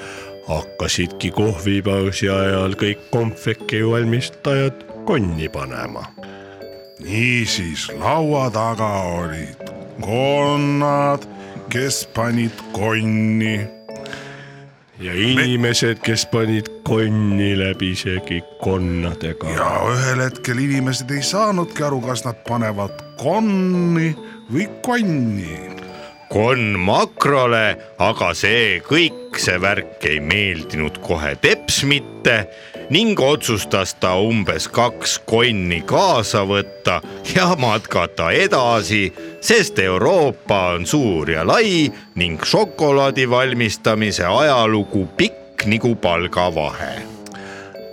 Speaker 1: hakkasidki kohvipausi ajal kõik kompveki valmistajad konni panema .
Speaker 8: niisiis laua taga olid konnad , kes panid konni .
Speaker 1: ja inimesed , kes panid konni läbi isegi konnadega .
Speaker 8: ja ühel hetkel inimesed ei saanudki aru , kas nad panevad konni või konni .
Speaker 2: konn makrole , aga see kõik , see värk ei meeldinud kohe teps mitte ning otsustas ta umbes kaks konni kaasa võtta ja matkata edasi , sest Euroopa on suur ja lai ning šokolaadi valmistamise ajalugu pikk nagu palgavahe .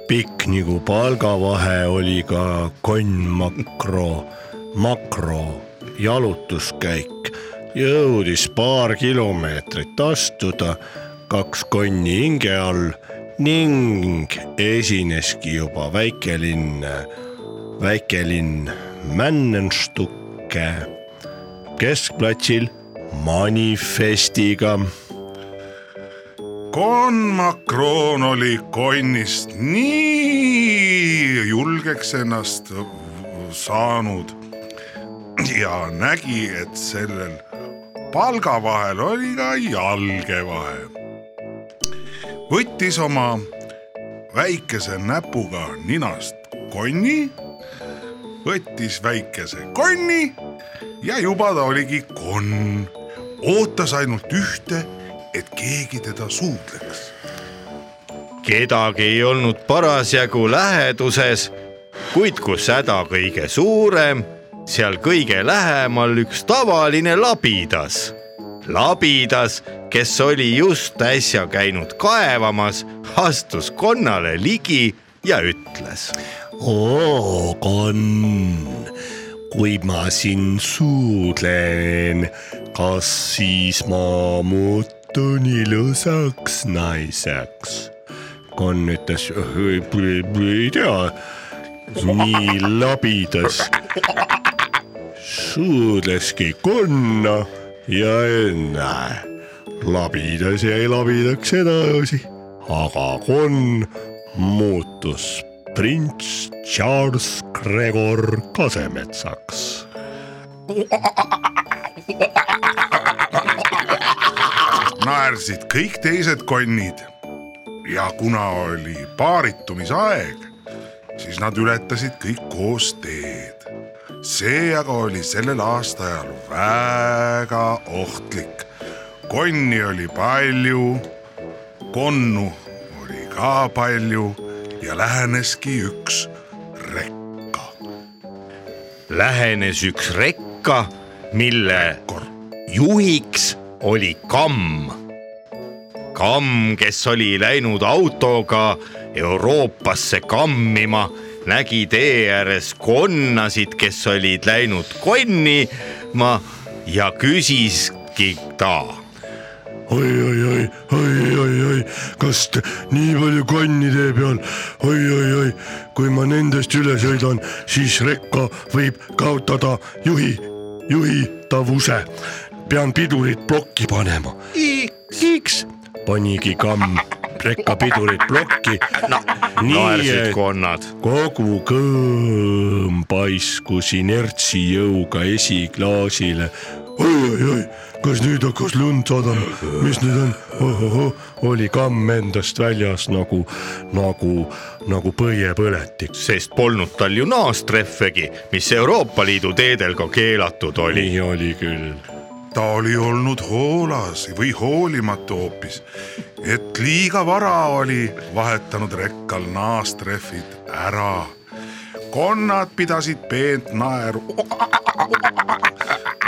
Speaker 1: pikk nagu palgavahe oli ka konn makro , makro jalutuskäik . jõudis paar kilomeetrit astuda , kaks konni hinge all ning esineski juba väikelinn , väikelinn Männenstukke keskplatsil manifestiga
Speaker 8: konn Macron oli konnist nii julgeks ennast v- saanud ja nägi , et sellel palga vahel oli ka jalge vahe . võttis oma väikese näpuga ninast konni , võttis väikese konni ja juba ta oligi konn . ootas ainult ühte , et keegi teda suudleks .
Speaker 2: kedagi ei olnud parasjagu läheduses , kuid kus häda kõige suurem , seal kõige lähemal üks tavaline labidas . labidas , kes oli just äsja käinud kaevamas , astus konnale ligi ja ütles .
Speaker 1: oo , konn , kui ma sind suudlen , kas siis ma muutun ilusaks naiseks ? konn ütles , ei tea , nii labidas . suudleski konna ja ennäe , labidas jäi labidaks edasi , aga konn muutus prints Charles Gregor Kasemetsaks .
Speaker 8: naersid kõik teised konnid . ja kuna oli paaritumisaeg , siis nad ületasid kõik koos teed . see aga oli sellel aastaajal väga ohtlik . konni oli palju , konnu oli ka palju ja läheneski üks rekka ,
Speaker 2: lähenes üks rekka , mille
Speaker 8: kor-
Speaker 2: juhiks oli kamm . kamm , kes oli läinud autoga Euroopasse kammima , nägi tee ääres konnasid , kes olid läinud konnima ja küsiski ta
Speaker 1: oi-oi-oi , oi-oi-oi , kas te, nii palju konni tee peal , oi-oi-oi , kui ma nendest üle sõidan , siis rekka võib kaotada juhi , juhitavuse . pean pidurid plokki panema . iks , panigi kamm rekka pidurid plokki no, .
Speaker 2: naersid konnad .
Speaker 1: kogu kõõm paiskus inertsi jõuga esiklaasile . oi-oi-oi , kas nüüd hakkas lund sadama , mis nüüd on oh, ? Oh, oli kamm endast väljas nagu , nagu , nagu põiepõletik .
Speaker 2: sest polnud tal ju naastrehvegi , mis Euroopa Liidu teedel ka keelatud oli .
Speaker 1: nii oli küll .
Speaker 8: ta oli olnud hoolas või hoolimatu hoopis , et liiga vara oli vahetanud rekkal naastrehvid ära . konnad pidasid peent naeru .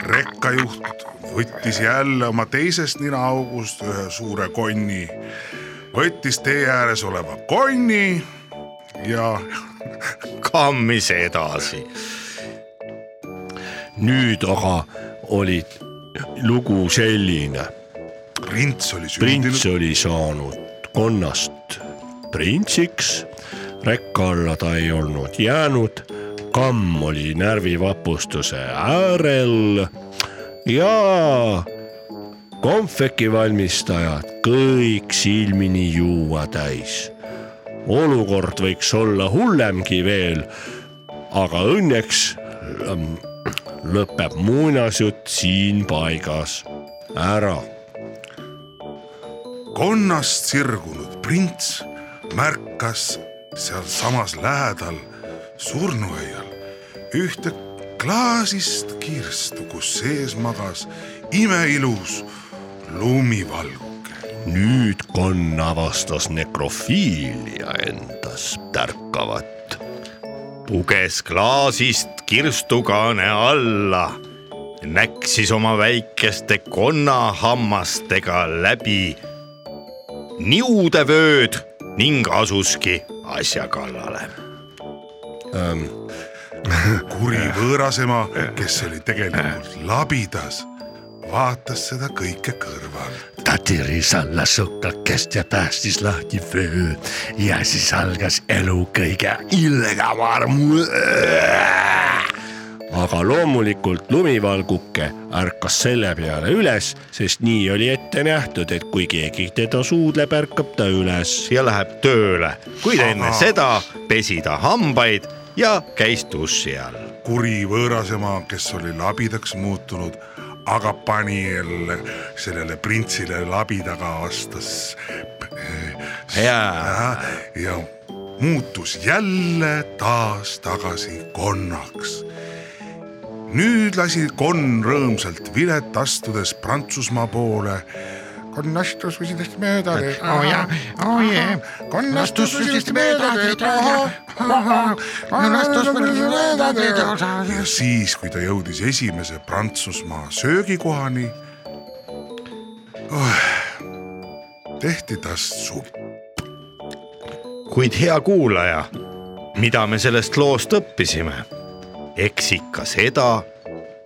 Speaker 8: rekkajuht võttis jälle oma teisest ninaaugust ühe suure konni , võttis tee ääres oleva konni ja
Speaker 2: kammis edasi .
Speaker 1: nüüd aga oli lugu selline ,
Speaker 8: prints oli sündinud
Speaker 1: prints . oli saanud konnast printsiks , rekka alla ta ei olnud jäänud , kamm oli närvivapustuse äärel ja konfeki valmistajad kõik silmini juua täis . olukord võiks olla hullemgi veel , aga õnneks ähm, lõpeb muinasjutt siin paigas ära
Speaker 8: konnast sirgunud prints märkas sealsamas lähedal surnuaial ühte klaasist kirstu , kus sees magas imeilus lumivalguke .
Speaker 1: nüüd konn avastas nekrofiilia endas tärkavat .
Speaker 2: puges klaasist kirstukaane alla , näksis oma väikeste konnahammastega läbi niudevööd ning asuski asja kallale .
Speaker 8: kuri võõrasema , kes oli tegelikult labidas , vaatas seda kõike kõrvalt .
Speaker 1: tatiris alla sukakest ja päästis lahti vöö ja siis algas elu kõige ilgavaram . aga loomulikult lumivalguke ärkas selle peale üles , sest nii oli ette nähtud , et kui keegi teda suudleb , ärkab ta üles .
Speaker 2: ja läheb tööle , kuid enne seda pesi ta hambaid ja käis duši all .
Speaker 8: kuri võõrasema , kes oli labidaks muutunud , aga pani jälle sellele printsile labidaga vastas
Speaker 2: jaa ,
Speaker 8: ja, ja muutus jälle taas tagasi konnaks . nüüd lasi konn rõõmsalt vilet astudes Prantsusmaa poole . konn astus võsidest mööda teed ,
Speaker 9: oo jaa ,
Speaker 8: Oh,
Speaker 9: oo jee ,
Speaker 8: konn astus võsidest mööda teed ,
Speaker 9: konn astus võrreldes mööda teed ,
Speaker 8: ja siis , kui ta jõudis esimese Prantsusmaa söögikohani oh, , tehti tast supp .
Speaker 2: kuid hea kuulaja , mida me sellest loost õppisime ? eks ikka seda ,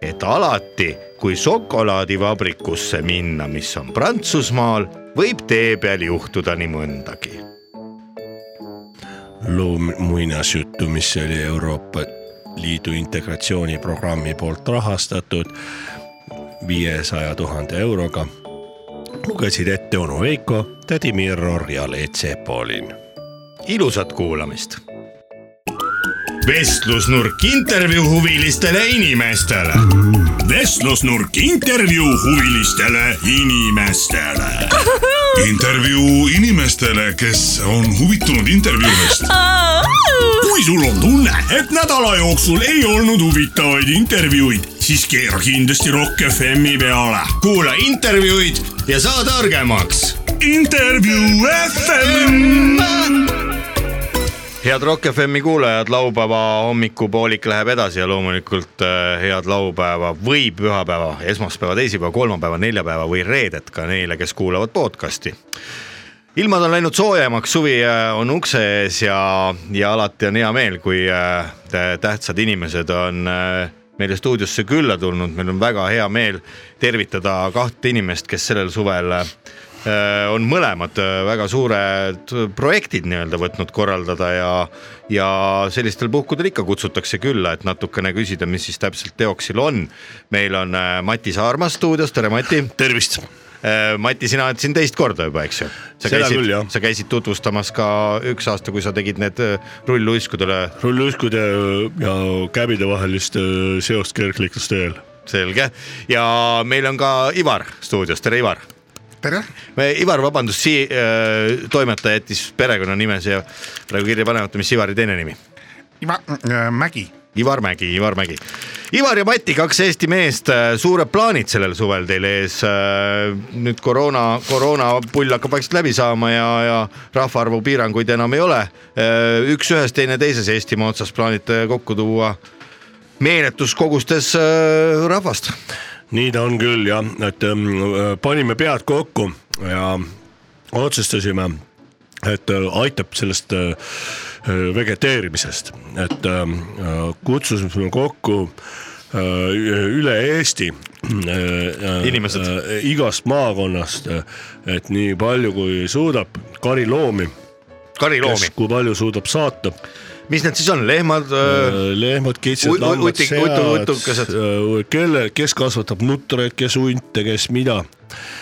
Speaker 2: et alati , kui šokolaadivabrikusse minna , mis on Prantsusmaal , võib tee peal juhtuda nii mõndagi .
Speaker 1: loom- , muinasjuttu , mis oli Euroopa Liidu integratsiooniprogrammi poolt rahastatud viiesaja tuhande euroga . lugesid ette onu Veiko , tädi E Mirror ja Leet Sepolin .
Speaker 2: ilusat kuulamist . vestlusnurk intervjuu huvilistele inimestele .
Speaker 4: vestlusnurk intervjuu huvilistele inimestele .
Speaker 8: *laughs* intervjuu inimestele , kes on huvitunud intervjuudest .
Speaker 4: *laughs* kui sul on tunne , et nädala jooksul ei olnud huvitavaid intervjuuid , siis keera kindlasti Rock FM-i peale .
Speaker 2: kuula intervjuud ja saa targemaks
Speaker 4: intervjuu FM .
Speaker 2: head Rock FM-i kuulajad , laupäeva hommikupoolik läheb edasi ja loomulikult äh, head laupäeva või pühapäeva , esmaspäeva , teisipäeva , kolmapäeva , neljapäeva või reedet ka neile , kes kuulavad podcast'i . ilmad on läinud soojemaks , suvi äh, on ukse ees ja , ja alati on hea meel , kui äh, tä- tähtsad inimesed on äh, meile stuudiosse külla tulnud , meil on väga hea meel tervitada kahte inimest , kes sellel suvel äh, Äh, on mõlemad äh, väga suured projektid nii-öelda võtnud korraldada ja , ja sellistel puhkudel ikka kutsutakse külla , et natukene küsida , mis siis täpselt teoksil on . meil on äh, Mati Saarma stuudios , tere Mati .
Speaker 1: tervist .
Speaker 2: Mati , sina oled siin teist korda juba , eks ju ?
Speaker 1: Seda küll, jah.
Speaker 2: sa käisid tutvustamas ka üks aasta , kui sa tegid need äh, rulluiskudele ,
Speaker 1: rulluiskude ja käbide vahelist äh, seost kergliiklusteel .
Speaker 2: selge . ja meil on ka Ivar stuudios , tere Ivar
Speaker 8: tere .
Speaker 2: Me- Ivar , vabandust , sii- , toimetaja jättis perekonnanime siia praegu kirja panemata , mis Ivari teine nimi ?
Speaker 8: Iva äh, Mägi .
Speaker 2: Ivar Mägi , Ivar Mägi . Ivar ja Mati , kaks Eesti meest , suured plaanid sellel suvel teil ees . nüüd koroona , koroonapull hakkab vaikselt läbi saama ja , ja rahvaarvu piiranguid enam ei ole . üks ühes , teine teises Eestimaa otsas plaanite kokku tuua meeletus kogustes äh, rahvast .
Speaker 1: nii ta on küll jah , et ähm, panime pead kokku ja otsustasime , et äh, aitab sellest äh, vegeteerimisest , et ähm, äh, kutsusime kokku äh, üle Eesti äh, .
Speaker 2: Inimesed.
Speaker 1: igast maakonnast , et nii palju kui suudab , kariloomi ,
Speaker 2: kariloomi
Speaker 1: kes , kui palju suudab saata
Speaker 2: mis need siis on , lehmad äh, ?
Speaker 1: lehmad ,
Speaker 2: Ui-
Speaker 1: kitsed ,
Speaker 2: ui-
Speaker 1: lambad ,
Speaker 2: utik- utu- utukesed.
Speaker 1: sead , kelle , kes kasvatab nutreid , kes hunte , kes mida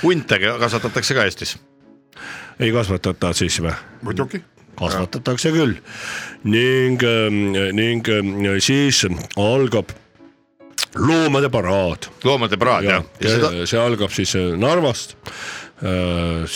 Speaker 2: hunte kasvatatakse ka Eestis .
Speaker 1: ei kasvatata siis või ?
Speaker 8: muidugi .
Speaker 1: kasvatatakse küll ning , ning ähm, siis algab loomade paraad
Speaker 2: loomade paraad jah ja. . Seda...
Speaker 1: ja see algab siis äh, Narvast ,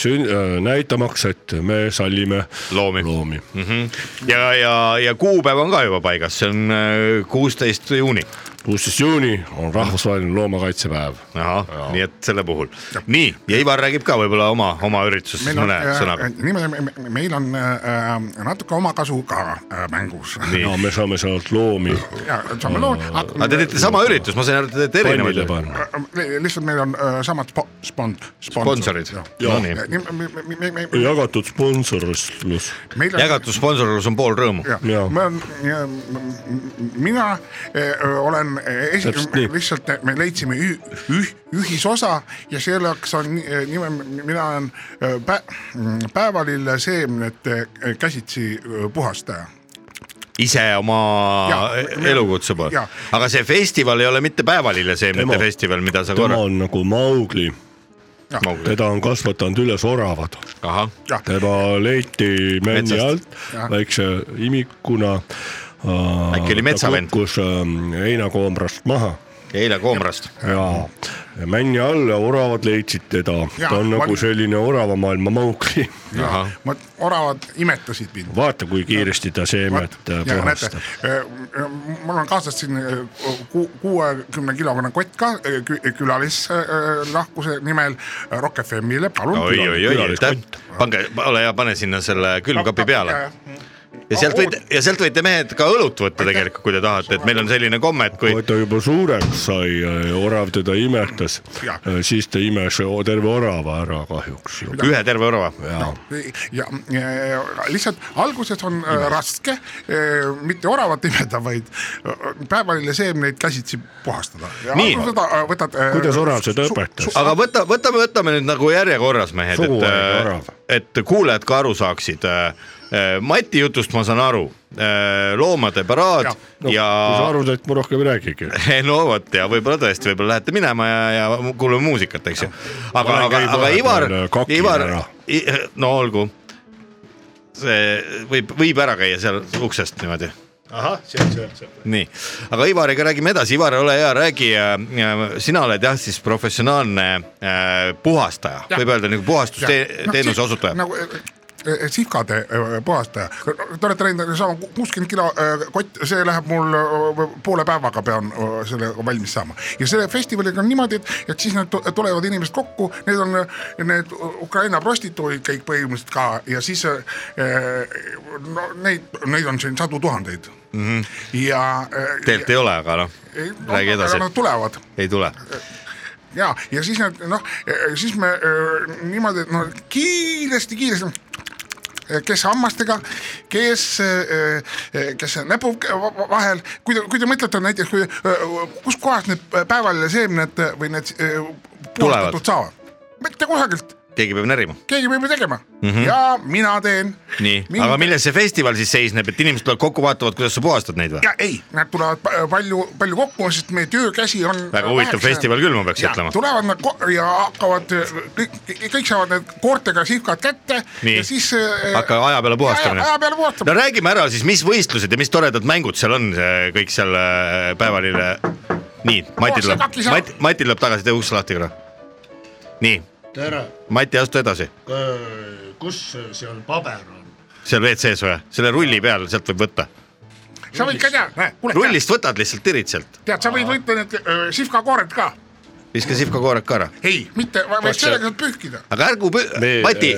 Speaker 1: sün- , näitamaks , et me sallime
Speaker 2: loomi, loomi. ,
Speaker 1: loomi .
Speaker 2: ja , ja , ja kuupäev on ka juba paigas , see on äh, kuusteist juuni .
Speaker 1: kuusteist juuni on rahvusvaheline loomakaitsepäev .
Speaker 2: ahah , nii et selle puhul . nii , ja Ivar räägib ka võib-olla oma , oma üritusest
Speaker 8: meil
Speaker 2: siis
Speaker 8: on äh,
Speaker 2: mõne , sõnaga .
Speaker 8: niimoodi , meil on äh, natuke omakasu ka äh, mängus .
Speaker 2: Nii.
Speaker 1: ja me saame sealt loomi
Speaker 8: ja saame loo .
Speaker 2: aga te teete sama üritus , ma sain aru , te teete
Speaker 1: pannile
Speaker 2: erinevaid .
Speaker 1: panna .
Speaker 8: Äh, ähm, lihtsalt meil on äh, samad spo- spon- ,
Speaker 2: sponsorid . Nonii ,
Speaker 8: Äh,
Speaker 1: jagatud sponsorlus .
Speaker 8: meil on
Speaker 2: jagatud sponsorlus on pool rõõmu .
Speaker 1: Jaa.
Speaker 8: ja ma olen , mina eh, olen esi-
Speaker 1: Täpselt nii. ,
Speaker 8: lihtsalt eh, me leidsime üh, üh, ühisosa ja selleks on ni- eh, nime , mina olen eh, pä, päevalill seemnete eh, käsitsi eh, puhastaja .
Speaker 2: ise oma
Speaker 8: Jaa, me-
Speaker 2: elukutse poolt
Speaker 8: jaa. .
Speaker 2: aga see festival ei ole mitte päevalille seemnete
Speaker 1: Tema-
Speaker 2: festival , mida sa
Speaker 1: tema
Speaker 2: korra .
Speaker 1: on nagu Maugli , teda on kasvatanud üles oravad .
Speaker 2: ahah ,
Speaker 1: tema leiti männi
Speaker 2: Metsast.
Speaker 1: alt väikse imikuna .
Speaker 2: Äkki oli metsavend?
Speaker 1: kukkus ähm, heinakoomrast maha
Speaker 2: eile Koomrast .
Speaker 1: ja männi all ja oravad leidsid teda .
Speaker 8: Jaa,
Speaker 1: ta on
Speaker 8: ma-
Speaker 1: nagu selline oravamaailma Maugli .
Speaker 2: ahah ,
Speaker 8: oravad imetasid mind .
Speaker 1: vaata , kui kiiresti ta seemet äh,
Speaker 8: ja näete äh,
Speaker 1: puhastab .,
Speaker 8: mul on kaasas siin eh, ku- kuuekümne kilogrammi kott ka eh, kü- külalislahkuse äh, nimel äh, Rock FM-ile , palun .
Speaker 2: oi-oi-oi , aitäh
Speaker 1: külaliskott. ,
Speaker 2: pange , ole hea , pane sinna selle külmkapi peale . ja sealt võite ja sealt võite mehed ka õlut võtta tegelikult , kui te tahate , et meil on selline komme , et kui
Speaker 1: kui ta juba suureks sai , orav teda imetas äh,
Speaker 8: Jah. ,
Speaker 1: siis ta imes o- terve orava ära kahjuks .
Speaker 2: ühe terve orava .
Speaker 8: Noh, ja eh, lihtsalt alguses on eh, raske eh, mitte oravat *laughs* imeda , vaid eh, päevalille seemneid käsitsi puhastada .
Speaker 2: Nii.
Speaker 8: äh, võtad .
Speaker 1: Kuidas orav seda õpetas?
Speaker 2: aga võta , võtame , võtame nüüd nagu järjekorras mehed ,
Speaker 1: Sugu aeg ja
Speaker 2: et äh,
Speaker 1: orav. ,
Speaker 2: et kuulajad ka aru saaksid . Mati jutust ma saan aru , loomade paraad ja,
Speaker 8: Jah.
Speaker 1: no,
Speaker 2: ja...
Speaker 1: kui sa arvad , et ma rohkem ei räägigi .
Speaker 2: *laughs* no vot ja võib-olla tõesti , võib-olla lähete minema ja , ja kuulame muusikat , eks ju . aga ,
Speaker 1: olen
Speaker 2: aga ,
Speaker 1: käinud
Speaker 2: aga
Speaker 1: vahepeal
Speaker 2: Ivar
Speaker 1: kakil ,
Speaker 2: Ivar
Speaker 1: ära. ,
Speaker 2: no olgu . see võib , võib ära käia seal uksest niimoodi .
Speaker 1: ahah , sealt , sealt , sealt .
Speaker 2: nii , aga Ivariga räägime edasi , Ivar , ole hea , räägi , sina oled jah siis professionaalne äh, puhastaja ,
Speaker 8: Jah.
Speaker 2: võib öelda nagu
Speaker 8: Ja, noh,
Speaker 2: puhastusteenuse
Speaker 8: see-
Speaker 2: osutaja .
Speaker 8: nagu eh, eh, sihkade eh, puhastaja . Te olete läinud saama ku- kuuskümmend kilo eh, kott , see läheb mul eh, poole päevaga pean eh, selle valmis saama . ja selle festivaliga on niimoodi , et , et siis nad tu- tulevad inimesed kokku , need on eh, need Ukraina prostituudid kõik põhimõtteliselt ka ja siis eh, eh, no neid , neid on siin sadu tuhandeid mm . -hmm. ja . e,
Speaker 2: tegelikult ei ole , aga noh , Mhm. räägi edasi ,
Speaker 8: Nad tulevad
Speaker 2: ei tule .
Speaker 8: ja , ja siis nad noh , siis me öö, niimoodi , et no kiiresti-kiiresti kes hammastega , kes , kes näpu va- vahel , kui te , kui te mõtlete näiteks , kui , kuskohast need päevaseemned äh, või need öö, puhastatud saavad ? mitte kusagilt ,
Speaker 2: keegi peab närima .
Speaker 8: keegi peab ju tegema mm -hmm. ja mina teen .
Speaker 2: Mhm. nii , aga ? milles see festival siis seisneb , et inimesed tulevad kokku , vaatavad , kuidas sa puhastad neid või ?
Speaker 8: ja ei , nad tulevad pa- palju , palju kokku , sest meie töökäsi on .
Speaker 2: väga huvitav festival küll , ma peaks
Speaker 8: ja
Speaker 2: ütlema .
Speaker 8: tulevad nad ko- ja hakkavad kõik , kõik saavad need koortega sihkad kätte
Speaker 2: Nii.
Speaker 8: ja siis äh,
Speaker 2: hakka aja peale puhastamine
Speaker 8: aja- aja peale .
Speaker 2: no
Speaker 8: puhastamine .
Speaker 2: räägime ära siis , mis võistlused ja mis toredad mängud seal on eh, kõik seal eh, päevalille . nii , Mati
Speaker 8: see
Speaker 2: tuleb
Speaker 8: kaki , saab.
Speaker 2: Mati , Mati tuleb tagasi , tee uks lahti korra . nii ,
Speaker 1: tere ,
Speaker 2: Mati , astu edasi ,
Speaker 1: kus seal paber on ?
Speaker 2: seal WC-s või , selle rulli peal , sealt võib võtta .
Speaker 8: sa võid ka teha , näe , kuule ,
Speaker 2: rullist võtad lihtsalt , tirid sealt ,
Speaker 8: tead , sa võid võtta need äh, sihvkakoored ka .
Speaker 2: viska sihvkakoored ka ära .
Speaker 8: ei , mitte , vaid
Speaker 1: see-
Speaker 8: sellega saad pühkida .
Speaker 2: aga ärgu pü-
Speaker 1: Me- ,
Speaker 2: Mati ,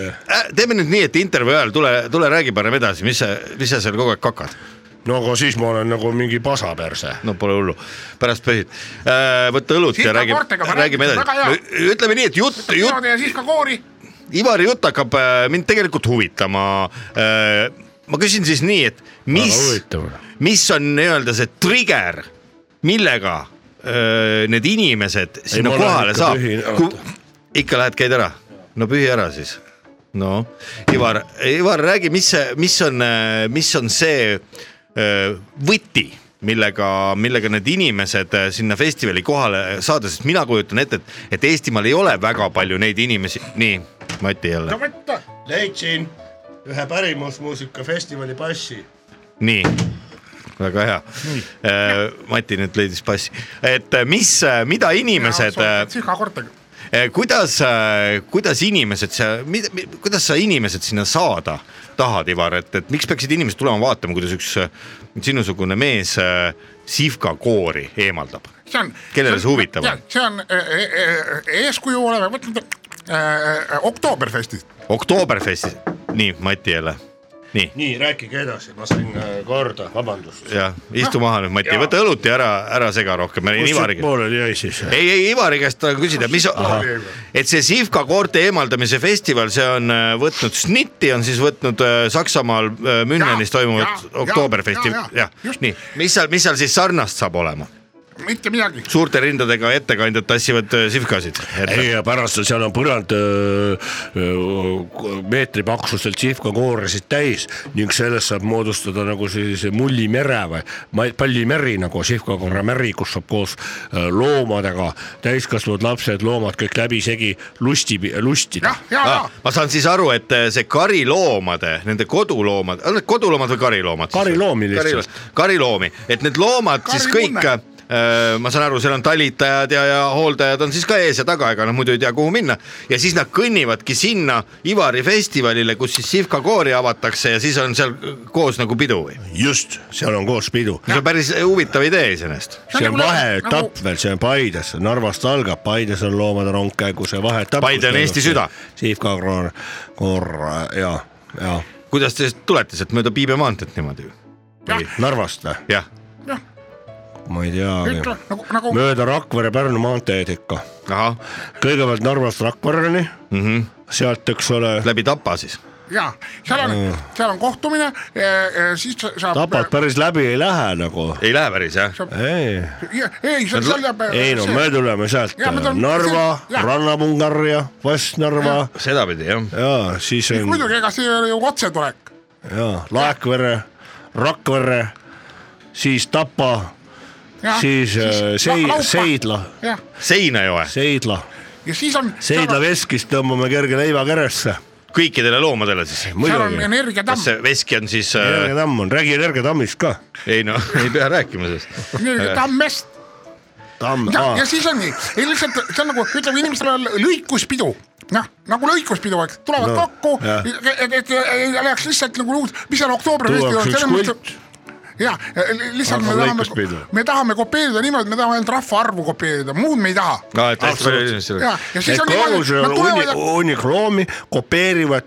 Speaker 2: teeme nüüd nii , et intervjuu ajal tule , tule räägi parem edasi , mis sa , mis sa seal kogu aeg kakad .
Speaker 1: no aga siis ma olen nagu mingi pasaperse .
Speaker 2: no pole hullu , pärast pöisid . võta õlut ja
Speaker 8: Sihvka
Speaker 2: räägime ,
Speaker 8: koortega ma
Speaker 2: räägime
Speaker 8: rääkisin, väga
Speaker 2: edasi . ütleme nii , et jutt , jutt
Speaker 8: mina teen sihvkakoori ,
Speaker 2: Ivari jutt hakkab äh, mind tegelikult huvitama . ma küsin siis nii , et mis
Speaker 1: Väga huvitav. ,
Speaker 2: mis on nii-öelda see trigger , millega äh, need inimesed sinna
Speaker 1: ma lähen
Speaker 2: kohale
Speaker 1: ikka
Speaker 2: saab
Speaker 1: pühin- ,
Speaker 2: ikka lähed , käid ära , no pühi ära siis . no Ivar , Ivar , räägi , mis , mis on , mis on see äh, võti millega , millega need inimesed äh, sinna festivali kohale saada , sest mina kujutan ette , et , et Eestimaal ei ole väga palju neid inimesi , nii , Mati jälle
Speaker 8: no , võta ,
Speaker 1: leidsin ühe pärimusmuusikafestivali passi .
Speaker 2: nii , väga hea . Mati nüüd leidis passi , et äh, mis , mida inimesed ,
Speaker 8: sihvkakoortega .
Speaker 2: kuidas , kuidas inimesed seal , kuidas sa inimesed sinna saada tahad , Ivar , et , et miks peaksid inimesed tulema vaatama , kuidas üks äh, sinusugune mees äh, sihvkakoori eemaldab ?
Speaker 8: see on .
Speaker 2: Kellele see huvitav on? ?
Speaker 8: see on äh, äh, äh, eeskuju oleme võtnud äh, Oktoberfestist .
Speaker 2: Oktoberfestis , nii Mati jälle , nii
Speaker 1: nii , rääkige edasi , ma sain äh, korda , vabandust .
Speaker 2: jah , istu maha nüüd Mati , võta õlut ja ära , ära sega rohkem , meil on
Speaker 1: kus
Speaker 2: Ivari
Speaker 1: see . pooleli jäi siis ?
Speaker 2: ei , ei Ivari käest tahan küsida , mis , et see Sivka koorte eemaldamise festival , see on äh, võtnud SNIT-i on siis võtnud äh, Saksamaal äh, Münchenis
Speaker 8: Jaa,
Speaker 2: toimuvat
Speaker 8: jaa, jaa,
Speaker 2: Oktoberfesti ,
Speaker 8: jaa, jaa,
Speaker 2: jah ,
Speaker 8: just.
Speaker 2: nii , mis seal , mis seal siis sarnast saab olema ?
Speaker 8: mitte midagi .
Speaker 2: suurte rindadega ettekandjad tassivad äh, sivkasid .
Speaker 1: ei , ja pärast on- seal on põrand öö, öö, meetri paksuselt sihvkakooresid täis ning sellest saab moodustada nagu sellise mullimere või ma- pallimäri nagu sihvkakoora märi , kus saab koos öö, loomadega täiskasvanud lapsed , loomad kõik läbisegi lusti , lustida
Speaker 8: jah ,. ja , ja
Speaker 2: Ah, ma saan siis aru , et äh, see kariloomade , nende koduloomad , on need koduloomad või kariloomad ?
Speaker 1: Kariloomi lihtsalt. .
Speaker 2: kariloomi , et need loomad siis kõik ,
Speaker 8: Karimunne.
Speaker 2: ma saan aru , seal on talitajad ja , ja hooldajad on siis ka ees ja taga , ega nad muidu ei tea , kuhu minna . ja siis nad kõnnivadki sinna Ivari festivalile , kus siis Sivka koori avatakse ja siis on seal koos nagu pidu või ?
Speaker 1: just , seal on koos pidu .
Speaker 2: see on päris huvitav idee iseenesest .
Speaker 8: on
Speaker 1: see on
Speaker 8: nagu-
Speaker 1: vaheetapp veel , see on Paides , Narvast algab , Paides on loomade rongkäigu see vaheetapp .
Speaker 2: Paide on Eesti süda.
Speaker 1: sihvkakoor , korra ja , ja
Speaker 2: kuidas te tulete sealt mööda Piibe maanteed niimoodi ?
Speaker 1: Narvast või ?
Speaker 2: jah ,
Speaker 1: ma ei tea
Speaker 8: ütle , nagu , nagu
Speaker 1: mööda Rakvere-Pärnu maanteed ikka ,
Speaker 2: ahah ,
Speaker 1: kõigepealt Narvast Rakvereni mm , -hmm. sealt , eks ole ,
Speaker 2: läbi Tapa siis .
Speaker 8: ja seal on , seal on kohtumine , siis sa- saab .
Speaker 1: Tapat päris läbi ei lähe nagu ,
Speaker 2: ei lähe päris jah ?
Speaker 1: ei ,
Speaker 8: ei , seal , seal jääb .
Speaker 1: ei no me . tuleme sealt
Speaker 8: Jaa, me tuleme-
Speaker 1: Narva ,
Speaker 8: jah.
Speaker 1: Rannapungarja , Vast-Narva
Speaker 2: sedapidi jah
Speaker 1: ja siis on
Speaker 8: muidugi , ega see ei ole ju otsetulek .
Speaker 1: ja Laekvere , Rakvere , siis Tapa ,
Speaker 8: Noh,
Speaker 1: siis äh, Sei- , Seidla ,
Speaker 8: jah ,
Speaker 2: Seinajoe ,
Speaker 1: Seidla ,
Speaker 8: ja siis on .
Speaker 1: Seidla . veskist tõmbame kerge leiva keresse ,
Speaker 2: kõikidele loomadele siis .
Speaker 8: seal on
Speaker 1: muidugi .
Speaker 8: energiatamm
Speaker 2: kas , see veski on siis äh, ,
Speaker 1: Energiatamm on , räägi Energiatammist ka .
Speaker 2: ei noh , ei pea rääkima sellest .
Speaker 8: energiatammest
Speaker 1: tamm ,
Speaker 8: ja ,
Speaker 1: aa
Speaker 8: ja , siis on nii , ei lihtsalt see on nagu ütleme , inimestel on lõikuspidu noh , nagu lõikuspidu , eks , tulevad
Speaker 1: No,
Speaker 8: no, kokku
Speaker 1: jah. ,
Speaker 8: et , et ei läheks lihtsalt nagu uus , mis seal oktoobrifestil
Speaker 1: tuuakse
Speaker 8: on ,
Speaker 1: üks
Speaker 8: selles mõttes
Speaker 1: kult ,
Speaker 8: ja li- e, lihtsalt me
Speaker 1: Hakkab
Speaker 8: tahame
Speaker 1: lõikuspidu. ,
Speaker 8: me tahame kopeerida niimoodi , me tahame ainult rahvaarvu kopeerida , muud me ei taha .
Speaker 2: no et hästi palju
Speaker 1: Absoluutselt.
Speaker 2: inimesi
Speaker 8: ja , ja siis
Speaker 1: et
Speaker 8: on
Speaker 1: kogu
Speaker 8: niimoodi ,
Speaker 1: selle
Speaker 8: nad tulevad ja
Speaker 1: uni- , unikroomi kopeerivad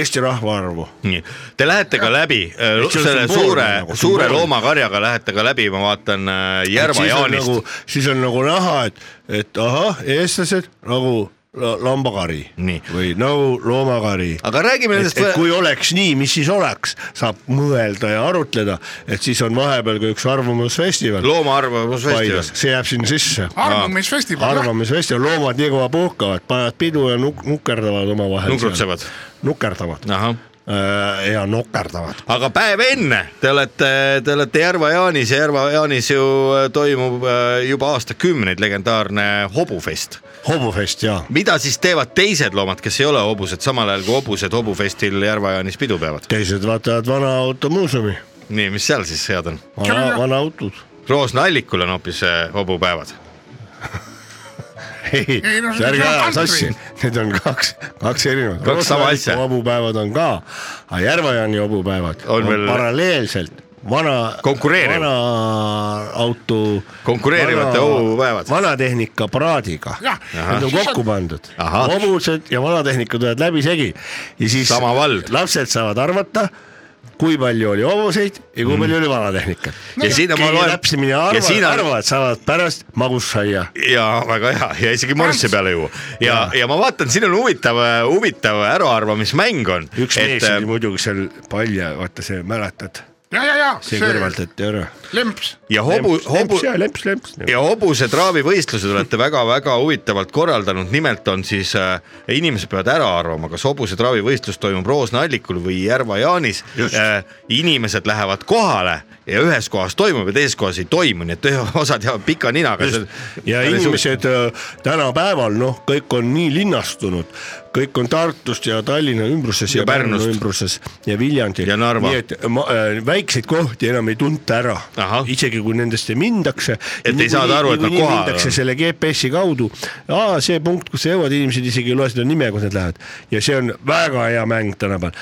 Speaker 1: Eesti rahvaarvu .
Speaker 2: nii , te lähete ka läbi äh,
Speaker 1: see on
Speaker 2: selle
Speaker 1: sümboolne
Speaker 2: suure
Speaker 1: nagu, ,
Speaker 2: suure
Speaker 1: sümboolne.
Speaker 2: loomakarjaga lähete ka läbi , ma vaatan äh, Järva Jaanist
Speaker 1: Nagu,
Speaker 2: nagu... .
Speaker 1: siis on nagu näha , et , et ahah , eestlased nagu la- lambakari
Speaker 2: Nii.
Speaker 1: või nagu loomakari .
Speaker 2: aga räägime
Speaker 1: et,
Speaker 2: nendest
Speaker 1: et , kui oleks nii , mis siis oleks , saab mõelda ja arutleda , et siis on vahepeal ka üks arvamusfestival Paides
Speaker 2: loomaarvamusfestival ,.
Speaker 1: see jääb sinna sisse .
Speaker 8: arvamisfestival , jah .
Speaker 1: arvamusfestival , loomad nii kõva puhkavad , panevad pidu ja nuk- nukerdavad omavahel .
Speaker 2: Nukrutsevad. .
Speaker 1: nukerdavad
Speaker 2: ahah ,
Speaker 1: Äh, ja nokerdavad .
Speaker 2: aga päev enne te olete , te olete Järva Jaanis ja Järva Jaanis ju äh, toimub äh, juba aastakümneid legendaarne hobufest .
Speaker 1: hobufest ja ,
Speaker 2: mida siis teevad teised loomad , kes ei ole hobused , samal ajal kui hobused hobufestil Järva Jaanis pidu peavad ?
Speaker 1: teised vaatavad vana automuuseumi ,
Speaker 2: nii , mis seal siis head on ?
Speaker 1: vana , vanaautod .
Speaker 2: Roosna Allikul on hoopis äh, hobupäevad
Speaker 1: ei
Speaker 8: Ei, no , see
Speaker 1: ärge
Speaker 8: on
Speaker 1: aja
Speaker 8: country.
Speaker 1: sassi , need on kaks , kaks erinevat .
Speaker 2: Kaks sama asja.
Speaker 1: hobupäevad on ka , aga Järva-Jaani hobupäevad on,
Speaker 2: On
Speaker 1: on
Speaker 2: veel-
Speaker 1: veel... paralleelselt vana ,
Speaker 2: Konkureeriv.
Speaker 1: vana auto .
Speaker 2: Konkureerivate hobupäevad.
Speaker 1: vanatehnika paraadiga ,
Speaker 8: Jah.
Speaker 1: need on
Speaker 8: Ahah.
Speaker 1: kokku pandud ,
Speaker 2: Ahah.
Speaker 1: hobused ja vanatehnika tulevad läbisegi ja siis
Speaker 2: Sama vald.
Speaker 1: lapsed saavad arvata kui palju oli hobuseid ja kui palju oli vanatehnikat
Speaker 2: No Mm. ja siin ma
Speaker 1: Kõige
Speaker 2: loen-
Speaker 1: täpsemini
Speaker 2: ja
Speaker 1: arvavad
Speaker 2: siin on-
Speaker 1: on... , arvavad , saavad pärast magussaia
Speaker 2: ja väga hea ja isegi morsse peale juua ja , ja ma vaatan , siin on huvitav , huvitav äraarvamismäng on . äh,
Speaker 1: üks et, ähm, mees oli muidugi seal palja , vaata see mäletad ,
Speaker 8: ja , ja , ja
Speaker 1: see
Speaker 8: see
Speaker 1: kõrvaldati ära .
Speaker 8: lemps ,
Speaker 2: ja hobu , hobu
Speaker 1: lemps ja lemps , lemps .
Speaker 2: ja hobusetraavivõistlused olete väga-väga huvitavalt korraldanud , nimelt on siis äh, inimesed peavad ära arvama , kas hobusetraavivõistlus toimub Roosna allikul või Järva Jaanis . Äh, inimesed lähevad kohale ja ühes kohas toimub ja teises kohas ei toimu , nii et *laughs* ühe osad jäävad pika ninaga .
Speaker 1: ja inimesed öö, tänapäeval noh , kõik on nii linnastunud , kõik on Tartust ja Tallinna ümbruses ja,
Speaker 2: Ja Pärnust.
Speaker 1: Pärnu ümbruses ja Viljandi .
Speaker 2: Ja Narva.
Speaker 1: nii et ma, äh, väikseid kohti enam ei tunta ära
Speaker 2: Ahah. ,
Speaker 1: isegi kui nendesse mindakse .
Speaker 2: ei saada aru, et nad kohal on.
Speaker 1: on . selle GPS-i kaudu , see punkt , kus sa jõuad , inimesed isegi ei loe seda nime , kus nad lähevad ja see on väga hea mäng tänapäeval .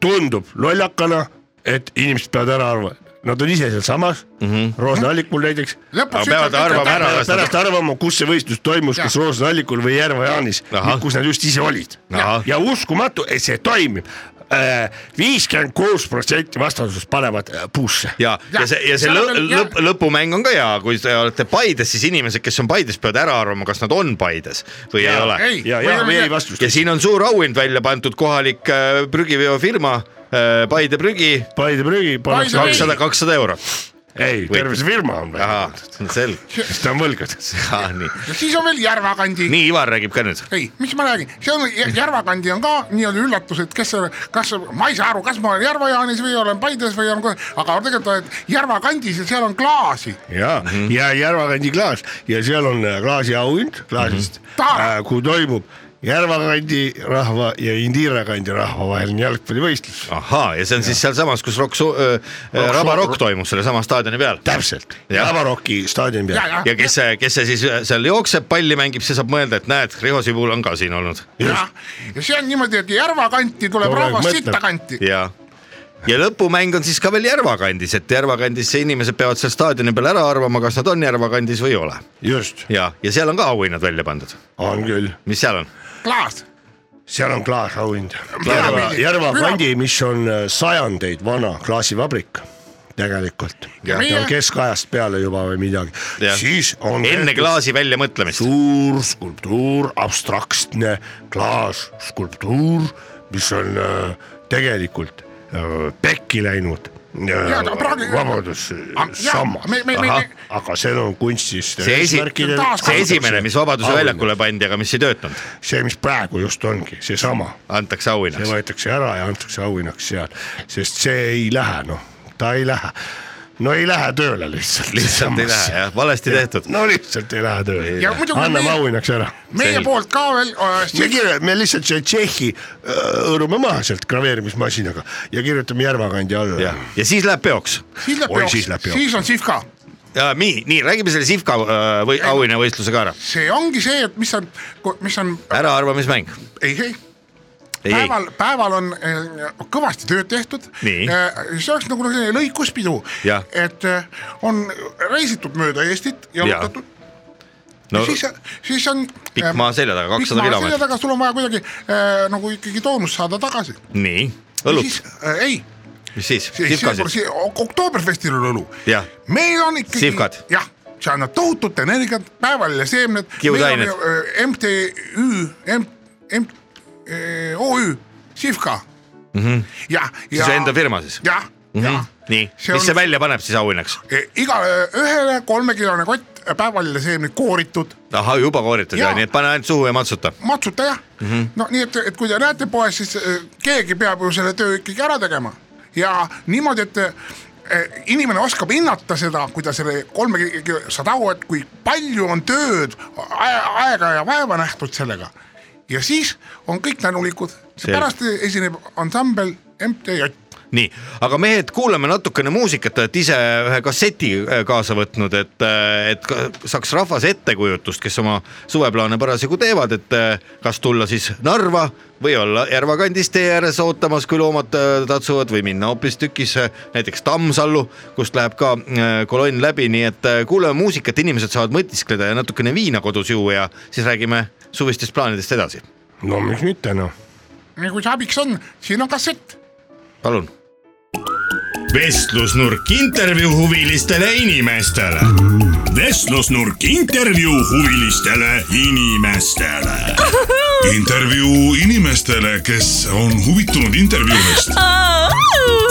Speaker 1: tundub lollakana , et inimesed peavad ära arvama , nad on ise sealsamas mm
Speaker 2: Mhm.
Speaker 1: -hmm. , Roosna allikul näiteks
Speaker 8: lõpuks
Speaker 2: Aga peavad arvama ära,
Speaker 1: Pärast-
Speaker 2: kas nad-
Speaker 1: pärast arvama , kus see võistlus toimus ,
Speaker 8: Jah.
Speaker 1: kas Roosna allikul või Järva Jaanis
Speaker 2: Ahah. ,
Speaker 1: kus nad just ise olid .
Speaker 2: Ahah.
Speaker 1: ja uskumatu , et see toimib . viiskümmend kuus protsenti vastasust panevad äh, puusse .
Speaker 2: ja , ja
Speaker 8: Ja,
Speaker 2: see , ja see
Speaker 8: seal on
Speaker 2: lõ-
Speaker 8: veel- ja-
Speaker 2: lõpp , lõpumäng on ka hea , kui te olete Paides , siis inimesed , kes on Paides , peavad ära arvama , kas nad on Paides või ja, ei ole .
Speaker 8: ei.
Speaker 1: ja , ja või ei vastust
Speaker 2: ja . siin on suur auhind välja pandud , kohalik äh, prügiveofirma äh, Paide prügi ,
Speaker 1: Paide prügi pannakse kakssada ,
Speaker 8: Paide
Speaker 2: kakssada , kakssada eurot .
Speaker 1: ei , terve see firma on välja
Speaker 2: ahah
Speaker 1: pandud ,,
Speaker 2: selge ,
Speaker 1: sest ta on võlgades .
Speaker 2: nii ,
Speaker 8: ja siis on veel Järvakandi .
Speaker 2: nii Ivar räägib ka nüüd .
Speaker 8: ei , mis ma räägin , see on Jä- Järvakandi on ka nii-öelda üllatus , et kes , kas ma ei saa aru , kas ma olen Järva-Jaanis või olen Paides või olen , aga tegelikult oled Järvakandis ja seal on klaasi .
Speaker 1: ja ,
Speaker 2: Mhm.
Speaker 1: ja Järvakandi klaas ja seal on äh, klaasiauhind klaasist
Speaker 2: Mhm.
Speaker 1: mm ,
Speaker 8: Ta-
Speaker 1: -hmm. kui toimub Järvakandi rahva ja Indira kandi rahva vaheline jalgpallivõistlus .
Speaker 2: ahhaa , ja see on ja. siis sealsamas , kus Rock , Raba Rock toimus sellesama staadioni peal .
Speaker 1: täpselt ,
Speaker 2: Jah.
Speaker 1: Javaroki staadioni peal
Speaker 8: ja , ja ,
Speaker 2: ja kes , kes see siis äh, seal jookseb , palli mängib , see saab mõelda , et näed , Riho Sibul on ka siin olnud
Speaker 8: ja , ja see on niimoodi , et Järvakanti tuleb
Speaker 1: Kogu aeg
Speaker 8: rahvas
Speaker 1: mõtleb.
Speaker 8: sittakanti .
Speaker 2: ja , ja lõpumäng on siis ka veel Järva kandis , et Järva kandis inimesed peavad seal staadioni peal ära arvama , kas nad on Järva kandis või ei ole .
Speaker 1: just ,
Speaker 2: ja , ja seal on ka auhinnad välja pandud ,
Speaker 1: on küll ,
Speaker 2: mis seal on ?
Speaker 8: klaas ,
Speaker 1: seal on klaasauhind . Järva ,
Speaker 8: Püramiidid.
Speaker 1: Järva
Speaker 8: Püram-
Speaker 1: kandi , mis on äh, sajandeid vana klaasivabrik tegelikult . ta
Speaker 8: Meie-
Speaker 1: on keskajast peale juba või midagi
Speaker 2: Jah. .
Speaker 1: siis on
Speaker 2: enne
Speaker 1: tehtud
Speaker 2: klaasi väljamõtlemist .
Speaker 1: suur skulptuur , abstraktne klaasskulptuur , mis on äh, tegelikult äh, pekki läinud Äh,
Speaker 8: Jaa, aga praegu- jaa,
Speaker 1: vabadussammas
Speaker 8: me- me- me- ,
Speaker 1: aga see on kunstist .
Speaker 2: see esi , see esimene , mis Vabaduse väljakule pandi , aga mis ei töötanud ,
Speaker 1: see , mis praegu just ongi , seesama ,
Speaker 2: antakse
Speaker 1: see
Speaker 2: auhinnaks .
Speaker 1: võetakse ära ja antakse auhinnaks seal , sest see ei lähe , noh , ta ei lähe , no ei lähe tööle lihtsalt .
Speaker 2: lihtsalt ei lähe jah , valesti tehtud .
Speaker 1: no lihtsalt ei lähe tööle
Speaker 8: Ja muidugi ,
Speaker 1: anname
Speaker 8: meie-
Speaker 1: auhinnaks ära .
Speaker 8: meie
Speaker 2: Selge.
Speaker 8: Sel... poolt ka veel
Speaker 1: me
Speaker 8: äh, ,
Speaker 1: kirja- , me lihtsalt see Tšehhi äh, hõõrume maha sealt graveerimismasinaga ja kirjutame Järvakandi alla
Speaker 2: ja , ja siis läheb peoks .
Speaker 8: siis läheb
Speaker 1: Oi, siis läheb
Speaker 8: peoks ,
Speaker 1: peoks.
Speaker 8: siis on Sivka .
Speaker 2: nii , nii räägime selle Sivka äh, või auhinnavõistluse ka ära ,
Speaker 8: see ongi see , et mis on , mis on ,
Speaker 2: äraarvamismäng .
Speaker 8: ei , ei
Speaker 2: ei , ei ,
Speaker 8: päeval , päeval on äh, kõvasti tööd tehtud .
Speaker 2: Nii.
Speaker 8: see oleks nagu selline lõikuspidu
Speaker 2: Jah. ,
Speaker 8: et äh, on reisitud mööda Eestit ja
Speaker 2: Jah.
Speaker 8: jalutatud
Speaker 2: no
Speaker 8: no, , siis , siis on . eh,
Speaker 2: Pikk maa selja taga, 200 kilomeetrit.
Speaker 8: taga sul on vaja kuidagi äh, nagu ikkagi toonust saada tagasi .
Speaker 2: nii , õlut ,
Speaker 8: äh, . ei ,
Speaker 2: mis siis , sivkasid ,
Speaker 8: siis Oktoberfestil on õlu
Speaker 2: Jah. .
Speaker 8: meil on ikkagi .
Speaker 2: Sihvkad.
Speaker 8: jah , see annab tohutut energiat , päeval ja seemned . äh,
Speaker 2: Kiusained.
Speaker 8: MTÜ , M , M , äh, OÜ , Sihvka . jah , ja .
Speaker 2: Mhm. siis enda firma Mhm. siis .
Speaker 8: jah , jah .
Speaker 2: nii ,
Speaker 8: See
Speaker 2: mis
Speaker 8: on-
Speaker 2: see välja paneb siis auhinnaks ?
Speaker 8: igale ühele kolmekilone kott päeval ja seemned kooritud
Speaker 2: ahah , juba kooritud ja
Speaker 8: Jaa.
Speaker 2: nii et pane ainult suhu ja matsuta .
Speaker 8: matsuta jah mm .
Speaker 1: Mhm.
Speaker 8: -hmm. no nii , et , et kui te näete poes , siis äh, keegi peab ju selle töö ikkagi ära tegema ja niimoodi , et äh, inimene oskab hinnata seda , kui ta selle kolme , saad aru , et kui palju on tööd , aega ja vaeva nähtud sellega . ja siis on kõik tänulikud ,
Speaker 2: Selge.
Speaker 8: pärast esineb ansambel MTJ .
Speaker 2: nii , aga mehed , kuulame natukene muusikat , te olete ise ühe kasseti äh, kaasa võtnud , et , et ka- saaks rahvas ettekujutust , kes oma suveplaane parasjagu teevad , et äh, kas tulla siis Narva või olla Järva kandis tee ääres ootamas , kui loomad äh, tatsuvad või minna hoopistükkis äh, näiteks Tammsallu , kust läheb ka äh, kolonn läbi , nii et äh, kuulame muusikat , inimesed saavad mõtiskleda ja natukene viina kodus juua ja siis räägime suvistest plaanidest edasi ,
Speaker 1: no miks mitte noh .
Speaker 8: kui see abiks on , siin on kassett .
Speaker 2: palun
Speaker 4: vestlusnurk intervjuu huvilistele inimestele .
Speaker 3: vestlusnurk intervjuu huvilistele inimestele .
Speaker 4: intervjuu inimestele , kes on huvitunud intervjuudest .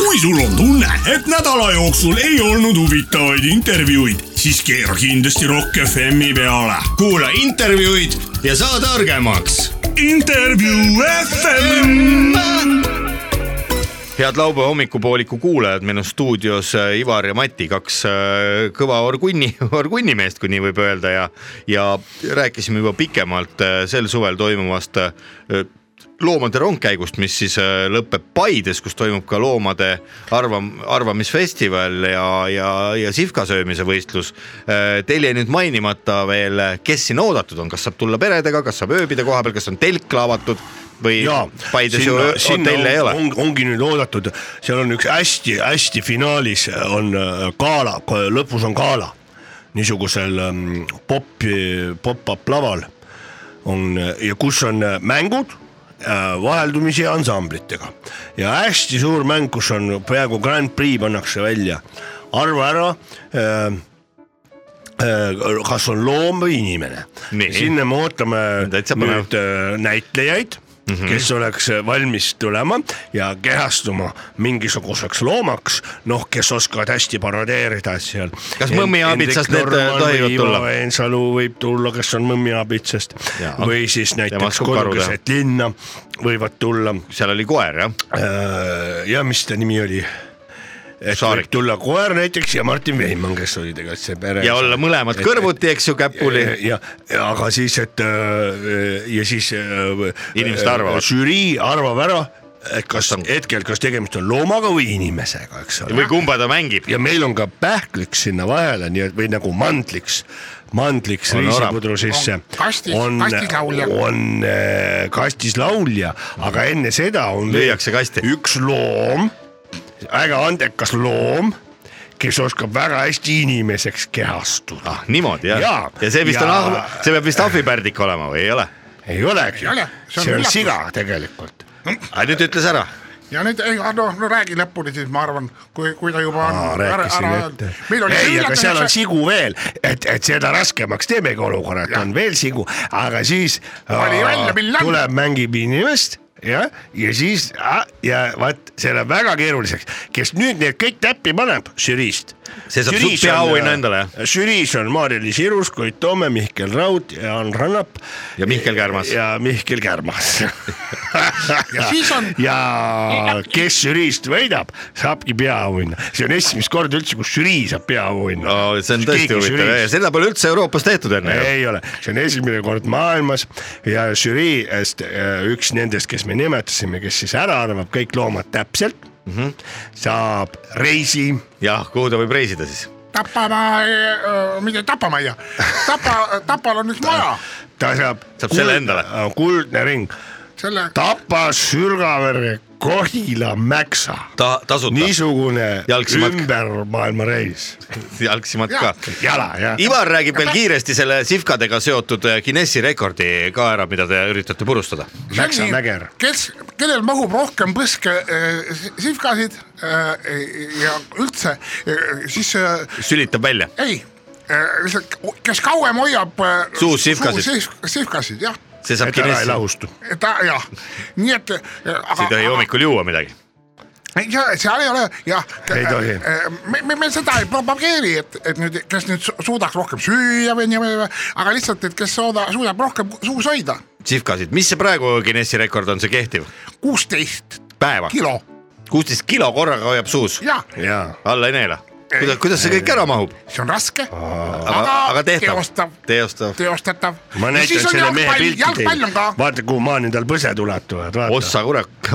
Speaker 4: kui sul on tunne , et nädala jooksul ei olnud huvitavaid intervjuuid , siis keera kindlasti Rock FM-i peale . kuula intervjuud ja saa targemaks . intervjuu FM .
Speaker 2: head laupäeva hommikupooliku kuulajad , meil on stuudios äh, Ivar ja Mati , kaks äh, kõva orgunni , *laughs* orgunnimeest , kui nii võib öelda ja , ja rääkisime juba pikemalt äh, sel suvel toimuvast äh, loomade rongkäigust , mis siis äh, lõpeb Paides , kus toimub ka loomade arva , arvamisfestival ja , ja , ja sihvkasöömise võistlus . Teil jäi nüüd mainimata veel , kes siin oodatud on , kas saab tulla peredega , kas saab ööbida kohapeal , kas on telk laavatud või
Speaker 1: ja
Speaker 2: Paides ju öö- hotelle ei ole ?
Speaker 1: on, . ongi nüüd oodatud , seal on üks hästi-hästi finaalis on äh, gala , lõpus on gala niisugusel ähm, pop , pop-up laval on äh, ja kus on äh, mängud äh, vaheldumisi ansamblitega ja hästi suur mäng , kus on peaaegu Grand Prix pannakse välja , arva ära äh, äh, kas on loom või inimene ,
Speaker 2: Nii.
Speaker 1: sinna me ootame
Speaker 2: Täitsa põnev. Mhm.
Speaker 1: nüüd äh, näitlejaid mm , -hmm. kes oleks valmis tulema ja kehastuma mingisuguseks loomaks , noh , kes oskavad hästi paradeerida seal .
Speaker 2: Kas mõmmi abitsast need, äh, tohivad tulla?
Speaker 1: Ensalu võib tulla , kes on mõmmi abitsast
Speaker 2: Jaa.
Speaker 1: või siis näiteks
Speaker 2: maskub karu
Speaker 1: kodukeset linna võivad tulla .
Speaker 2: seal oli koer jah ,
Speaker 1: ja mis ta nimi oli ? et
Speaker 2: Saarik.
Speaker 1: võib tulla koer näiteks ja Martin Veimann , kes oli tegelikult see pere .
Speaker 2: ja olla mõlemad
Speaker 1: Et-
Speaker 2: kõrvuti , eks ju , käpuli .
Speaker 1: ja , ja aga siis , et äh, ja siis äh, .
Speaker 2: Inimesed arvavad.
Speaker 1: žürii arvab ära , et kas
Speaker 2: Kas on-
Speaker 1: hetkel , kas tegemist on loomaga või inimesega , eks ole
Speaker 2: või . kumba ta mängib ,
Speaker 1: ja meil on ka pähklik sinna vahele , nii et või nagu mandliks , mandliks
Speaker 2: On
Speaker 1: riisipudru sisse .
Speaker 8: On kastis- kastis laulja.
Speaker 1: on äh, kastis laulja , aga enne seda on .
Speaker 2: Lüüakse kasti.
Speaker 1: üks loom , väga andekas loom , kes oskab väga hästi inimeseks kehastuda ah, .
Speaker 2: niimoodi jah
Speaker 1: Jaa.
Speaker 2: ja see vist
Speaker 1: Ja-
Speaker 2: on , see peab vist ahvipärdik olema või ei ole ?
Speaker 1: ei olegi
Speaker 8: ole, , see on
Speaker 1: see on
Speaker 8: üllatus.
Speaker 1: siga tegelikult .
Speaker 2: aga nüüd ütles ära ,
Speaker 8: ja nüüd , ei no, no räägi lõpuni siis , ma arvan , kui , kui ta juba
Speaker 1: Aa,
Speaker 8: on ära ,
Speaker 1: rääkisin
Speaker 8: ära
Speaker 1: ette
Speaker 8: öelnud .. meil oli
Speaker 1: ei , aga seal on
Speaker 8: üllatuseks ,
Speaker 1: sigu veel , et , et seda raskemaks teemegi olukorra , et on veel sigu , aga siis
Speaker 8: Vali välja, millal. .
Speaker 1: tuleb , mängib inimest jah , ja siis ah, ja vaat see läheb väga keeruliseks , kes nüüd need kõik täppi paneb žüriist .
Speaker 2: See saab superauhinna endale, jah?
Speaker 1: žüriis äh, on Maarja-Liis Irus , Koit Toome , Mihkel Raud , Jaan Rannap .
Speaker 2: Ja Mihkel Kärmas.
Speaker 1: ja Mihkel Kärmas
Speaker 8: *laughs* Ja siis on-
Speaker 1: ja kes žüriist võidab , saabki peaauhinna , see on esimest korda üldse , kus žürii saab peaauhinna
Speaker 2: no, . see on tõesti huvitav ja seda pole üldse Euroopas tehtud enne ju .
Speaker 1: ei ole , see on esimene kord maailmas ja žürii eest äh, üks nendest , kes me nimetasime , kes siis ära arvab
Speaker 2: Mhm.
Speaker 1: kõik loomad täpselt mm , -hmm. saab reisi
Speaker 2: jah , kuhu ta võib reisida siis ?
Speaker 8: Tapamaa , eh, mitte Tapamajja , Tapa ,
Speaker 2: *laughs*
Speaker 8: Tapal on üks maja ,
Speaker 1: ta saab .
Speaker 2: Saab selle endale. .
Speaker 1: kuldne ring ,
Speaker 8: selle ,
Speaker 1: Tapa , Sürgavere , Kohila , Mäksa ,
Speaker 2: ta tasuta Niis...
Speaker 1: niisugune
Speaker 2: Jalgsimatk.
Speaker 1: ümbermaailmareis ,
Speaker 2: jalgsimat
Speaker 8: Jaa.
Speaker 2: ka .
Speaker 1: jala jah .
Speaker 2: Ivar räägib veel kiiresti selle sihvkadega seotud eh, Guinessi rekordi ka ära , mida te üritate purustada .
Speaker 1: Mäksa mäger.
Speaker 8: kes , kellel mahub rohkem põske äh, sihvkasid äh, ja üldse äh, siis äh,
Speaker 2: sülitab välja .
Speaker 8: ei , lihtsalt , kes kauem hoiab äh,
Speaker 2: Suus sihvkasid.
Speaker 8: suu sihv- sihvkasid jah ,
Speaker 2: see saab
Speaker 1: et ära ei
Speaker 2: Guinessi ,
Speaker 1: lahustu .
Speaker 8: ta jah , nii et . eh,
Speaker 2: ei tohi hommikul juua midagi .
Speaker 8: ei , seal ei ole jah .
Speaker 1: Ei tohi.
Speaker 8: me , me , me seda ei propageeri , et , et nüüd , kes nüüd su- suudaks rohkem süüa või nii , aga lihtsalt , et kes sooda, suudab rohkem suus hoida ,
Speaker 2: sihvkasid , mis see praegu Guinessi rekord on , see kehtiv ?
Speaker 8: kuusteist
Speaker 2: päeva ,
Speaker 8: kilo
Speaker 2: kuusteist kilo korraga hoiab suus ,
Speaker 8: ja
Speaker 1: ja ,
Speaker 2: alla ei neela . kuidas , kuidas see kõik ära mahub ?
Speaker 8: see on raske ,
Speaker 2: aga , aga tehtav
Speaker 8: teostav ,,
Speaker 2: teostav .
Speaker 8: teostatav .
Speaker 1: ma näitan selle mehe pilti
Speaker 8: jalgpall
Speaker 1: teile
Speaker 8: on ka ,
Speaker 1: vaata kuhu maani tal põsed ulatuvad , vaata .
Speaker 2: ossa kurat ,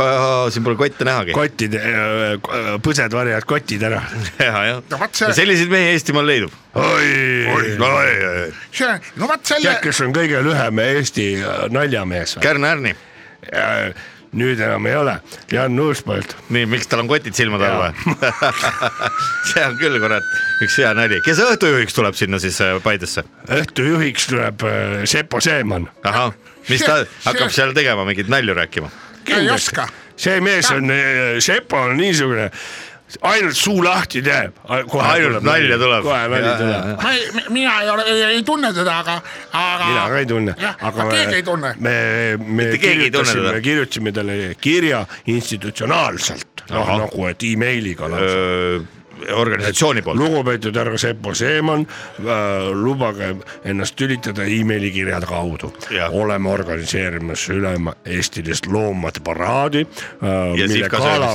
Speaker 2: siin pole kotte nähagi . *laughs*
Speaker 1: kotid , äh, põsed varjavad kotid ära .
Speaker 2: jah , jah
Speaker 8: No vot see- .
Speaker 2: selliseid mehi Eestimaal leidub .
Speaker 1: oi, oi , oi. ,
Speaker 8: see , no vot selle
Speaker 1: tead , kes on kõige lühem Eesti äh, naljamees ?
Speaker 2: Kärn Ärni ,
Speaker 1: nüüd enam ei ole , Jan Uuspõld .
Speaker 2: nii , miks tal on kotid silmade all
Speaker 1: Jaa.
Speaker 2: või ? *laughs* see on küll kurat üks hea nali , kes õhtujuhiks tuleb sinna siis äh, Paidesse ?
Speaker 1: õhtujuhiks tuleb äh, Sepo Seeman .
Speaker 2: ahah , mis ta
Speaker 8: See-
Speaker 2: hakkab
Speaker 8: see-
Speaker 2: seal tegema , mingeid nalju rääkima ?
Speaker 8: ei oska ,
Speaker 1: see mees on , Sepo on niisugune , ainult suu lahti teeb .
Speaker 2: Ainult nalja tuleb.
Speaker 1: kohe nali
Speaker 2: Jaa, jaa,
Speaker 1: tuleb
Speaker 2: jaa.
Speaker 8: ma ei , mina ei ole , ei tunne teda , aga , aga .
Speaker 1: mina ka ei tunne ,
Speaker 8: aga keegi ei tunne .
Speaker 1: me , me
Speaker 2: Mitte keegi ei tunne
Speaker 1: kirjutasime
Speaker 2: teda. ,
Speaker 1: kirjutasime talle kirja institutsionaalselt , noh
Speaker 2: Ahah.
Speaker 1: nagu , et emailiga lausa .
Speaker 2: Äh, organisatsiooni poolt ,
Speaker 1: lugupeetud härra Sepo Seeman , lubage ennast tülitada emaili kirja kaudu
Speaker 2: Jah. .
Speaker 1: oleme organiseerimas ülema-eestilist loomade paraadi .
Speaker 2: Ja
Speaker 1: äh, mille
Speaker 2: sihvka
Speaker 1: gala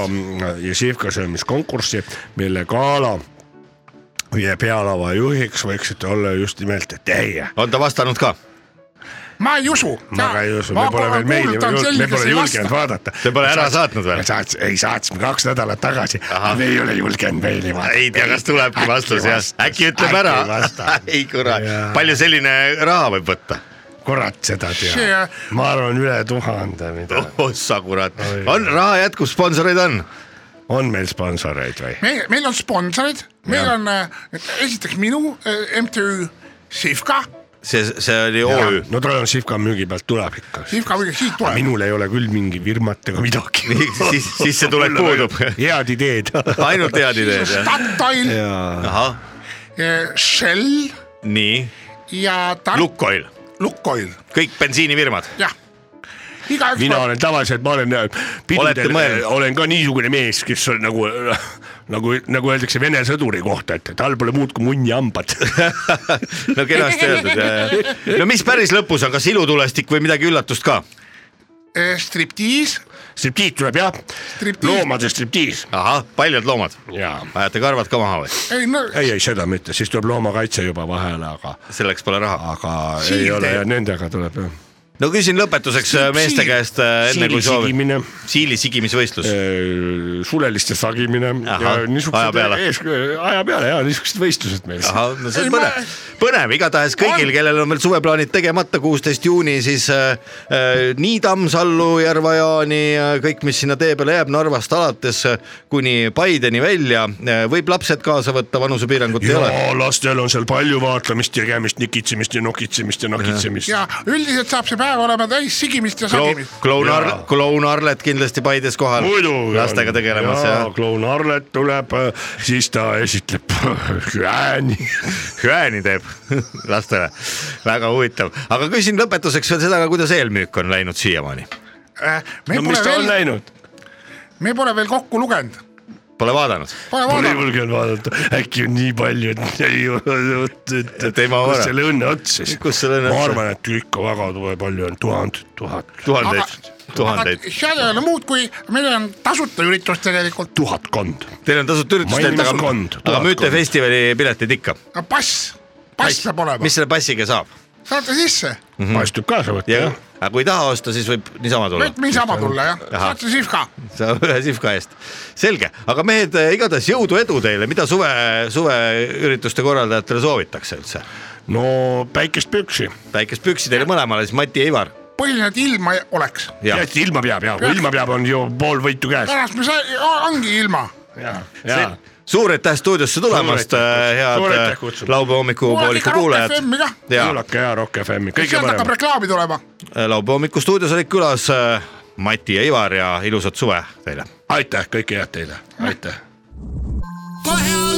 Speaker 1: ja sihvkasöömiskonkurssi , mille gala ja pealava juhiks võiksite olla just nimelt teie .
Speaker 2: on ta vastanud ka ?
Speaker 8: ma ei usu .
Speaker 1: ma ka ei usu , me pole veel meili , me pole julgenud . vaadata .
Speaker 2: Te pole ära saatnud veel?
Speaker 1: saats- , ei saatsime kaks nädalat tagasi , aga me ei ole julgenud meili vaadata .
Speaker 2: ei tea , kas tulebki
Speaker 1: Äkki
Speaker 2: vastus jah ,
Speaker 1: vastas.
Speaker 2: äkki ütleb
Speaker 1: Äkki
Speaker 2: ära
Speaker 1: vastas. .
Speaker 2: *laughs* ei kurat
Speaker 1: Jaa. ,
Speaker 2: palju selline raha võib võtta ?
Speaker 1: kurat seda
Speaker 8: See-
Speaker 1: teab , ma arvan üle tuhande , mida
Speaker 2: *laughs* oh sa kurat , on raha jätkub , sponsoreid on ?
Speaker 1: on meil sponsoreid või ?
Speaker 8: meil , meil on sponsorid , meil on äh, esiteks minu äh, MTÜ Sivka ,
Speaker 2: see , see oli OÜ .
Speaker 1: no tal on Sivka müügi pealt tuleb ikka .
Speaker 8: Sivka või siit tuleb .
Speaker 1: minul ei ole küll mingi firmat ega midagi .
Speaker 2: *laughs* *laughs* siis , sissetulek puudub .
Speaker 1: head ideed .
Speaker 2: *laughs* ainult head ideed jah ?
Speaker 8: Statoil ,
Speaker 2: ahah ,
Speaker 8: Shell
Speaker 2: nii ,
Speaker 8: ja Tar-
Speaker 2: Lukoil ,
Speaker 8: Lukoil ,
Speaker 2: kõik bensiinifirmad .
Speaker 8: jah . igaüks
Speaker 1: mina olen tavaliselt , ma olen äh,
Speaker 2: Olete
Speaker 1: pidudel ,
Speaker 2: mõelnud?
Speaker 1: olen ka niisugune mees , kes on nagu , nagu , nagu öeldakse Vene sõduri kohta , et tal pole muud kui
Speaker 2: *laughs*
Speaker 1: munnihambad .
Speaker 2: no kenasti öeldud jah . no mis päris lõpus on , kas ilutulestik või midagi üllatust ka ?
Speaker 8: eh, striptiis ,
Speaker 1: striptiis tuleb jah ,
Speaker 8: Striptiis.
Speaker 1: loomade striptiis
Speaker 2: ahah , paljad loomad ,
Speaker 1: ja
Speaker 2: ajate karvad ka maha või ?
Speaker 8: ei no
Speaker 1: ei , ei seda mitte , siis tuleb loomakaitse juba vahele , aga ,
Speaker 2: selleks pole raha .
Speaker 1: aga
Speaker 8: Siim
Speaker 1: ei ole
Speaker 8: teeb.
Speaker 1: ja nendega tuleb jah .
Speaker 2: no küsin lõpetuseks äh, meeste käest äh, enne kui
Speaker 1: siili
Speaker 2: soovin .
Speaker 1: sigimine
Speaker 2: siili sigimisvõistlus ,
Speaker 1: Äh, suleliste sagimine
Speaker 2: Ahah,
Speaker 1: ja
Speaker 2: aja
Speaker 1: niisugused
Speaker 2: peale.
Speaker 1: ees , aja peale ja niisugused võistlused meil .
Speaker 2: ahah , no see
Speaker 8: Ei,
Speaker 2: on
Speaker 8: ma-
Speaker 2: põnev , põnev , igatahes kõigil , kellel on veel suveplaanid tegemata , kuusteist juuni , siis äh, äh, Niidam , Sallu , Järva-Jaani , äh, kõik , mis sinna tee peale jääb , Narvast alates äh, kuni Paideni välja äh, , võib lapsed kaasa võtta , vanusepiirangut ei
Speaker 1: ja
Speaker 2: ole .
Speaker 1: lastel on seal palju vaatlamist , tegemist , nikitsemist ja nokitsemist ja nokitsemist .
Speaker 8: ja üldiselt saab see päev olema täis sigimist ja sagimist .
Speaker 2: kloun
Speaker 1: Jaa.
Speaker 2: Arlet , kloun Arlet kindlasti Paides kohal ,
Speaker 1: muidugi .
Speaker 2: lastega tegelemas ja
Speaker 1: kloun Arlet tuleb , siis ta esitleb *laughs* hääni .
Speaker 2: hüääni teeb *laughs* lastele , väga huvitav , aga küsin lõpetuseks veel seda ka , kuidas eelmüük on läinud siiamaani
Speaker 8: Äh, me
Speaker 1: no mis
Speaker 8: pole
Speaker 1: ta on
Speaker 8: veel ,
Speaker 1: läinud ?
Speaker 8: me pole veel kokku lugenud .
Speaker 2: Pole vaadanud ,
Speaker 8: Pole
Speaker 1: pole
Speaker 8: vaadanud ,
Speaker 1: julgenud vaadata , äkki on nii palju , et *laughs* ei ole , et
Speaker 2: Teeme
Speaker 1: kus
Speaker 2: ära.
Speaker 1: selle õnne ots siis .
Speaker 2: Kus selle õnne
Speaker 1: ma
Speaker 2: ots-
Speaker 1: arvan , et ikka väga tume- palju on , tuhanded , tuhat ,
Speaker 8: aga
Speaker 2: tuhandeid , tuhandeid
Speaker 8: aga . seal ei ole muud , kui meil on tasuta üritus tegelikult ,
Speaker 1: tuhatkond .
Speaker 2: Teil on tasuta üritust ,
Speaker 1: Maailmas
Speaker 2: aga
Speaker 1: on ,
Speaker 2: aga
Speaker 1: tuhat
Speaker 2: müüte
Speaker 1: kond.
Speaker 2: festivali piletid ikka .
Speaker 8: pass , pass peab olema
Speaker 2: mis . selle passiga saab ?
Speaker 8: saate sisse ,
Speaker 3: paistab kaasa võtta
Speaker 2: Mhm. ja
Speaker 3: jah .
Speaker 2: aga kui ei taha osta , siis võib niisama tulla .
Speaker 8: nüüd niisama tulla jah ,
Speaker 2: Ahah.
Speaker 8: saate siis ka .
Speaker 2: saab ühe sihvka eest , selge , aga mehed , igatahes jõudu-edu teile , mida suve , suveürituste korraldajatele soovitakse üldse ?
Speaker 3: no päikest püksi ,
Speaker 2: väikest püksi teile mõlemale , siis Mati ja Ivar .
Speaker 8: põhiline , et ilma oleks .
Speaker 2: jah ,
Speaker 3: et ilma peab ja , kui ilma peab , on ju pool võitu käes .
Speaker 8: tänast me sai , ongi ilma .
Speaker 3: ja ,
Speaker 2: suur aitäh stuudiosse tulemast ,
Speaker 3: Suur aitäh Suur aitäh
Speaker 2: head
Speaker 3: kutsumast.
Speaker 2: laupäeva hommikupooliku kuulajad . ja
Speaker 3: kuulake ja Rock FM-i , kõige
Speaker 8: sealt hakkab
Speaker 3: parem .
Speaker 8: reklaami tulema .
Speaker 2: laupäeva hommiku eh, stuudios olid külas äh, Mati ja Ivar ja ilusat suve teile .
Speaker 3: aitäh , kõike head teile , aitäh .
Speaker 1: kohe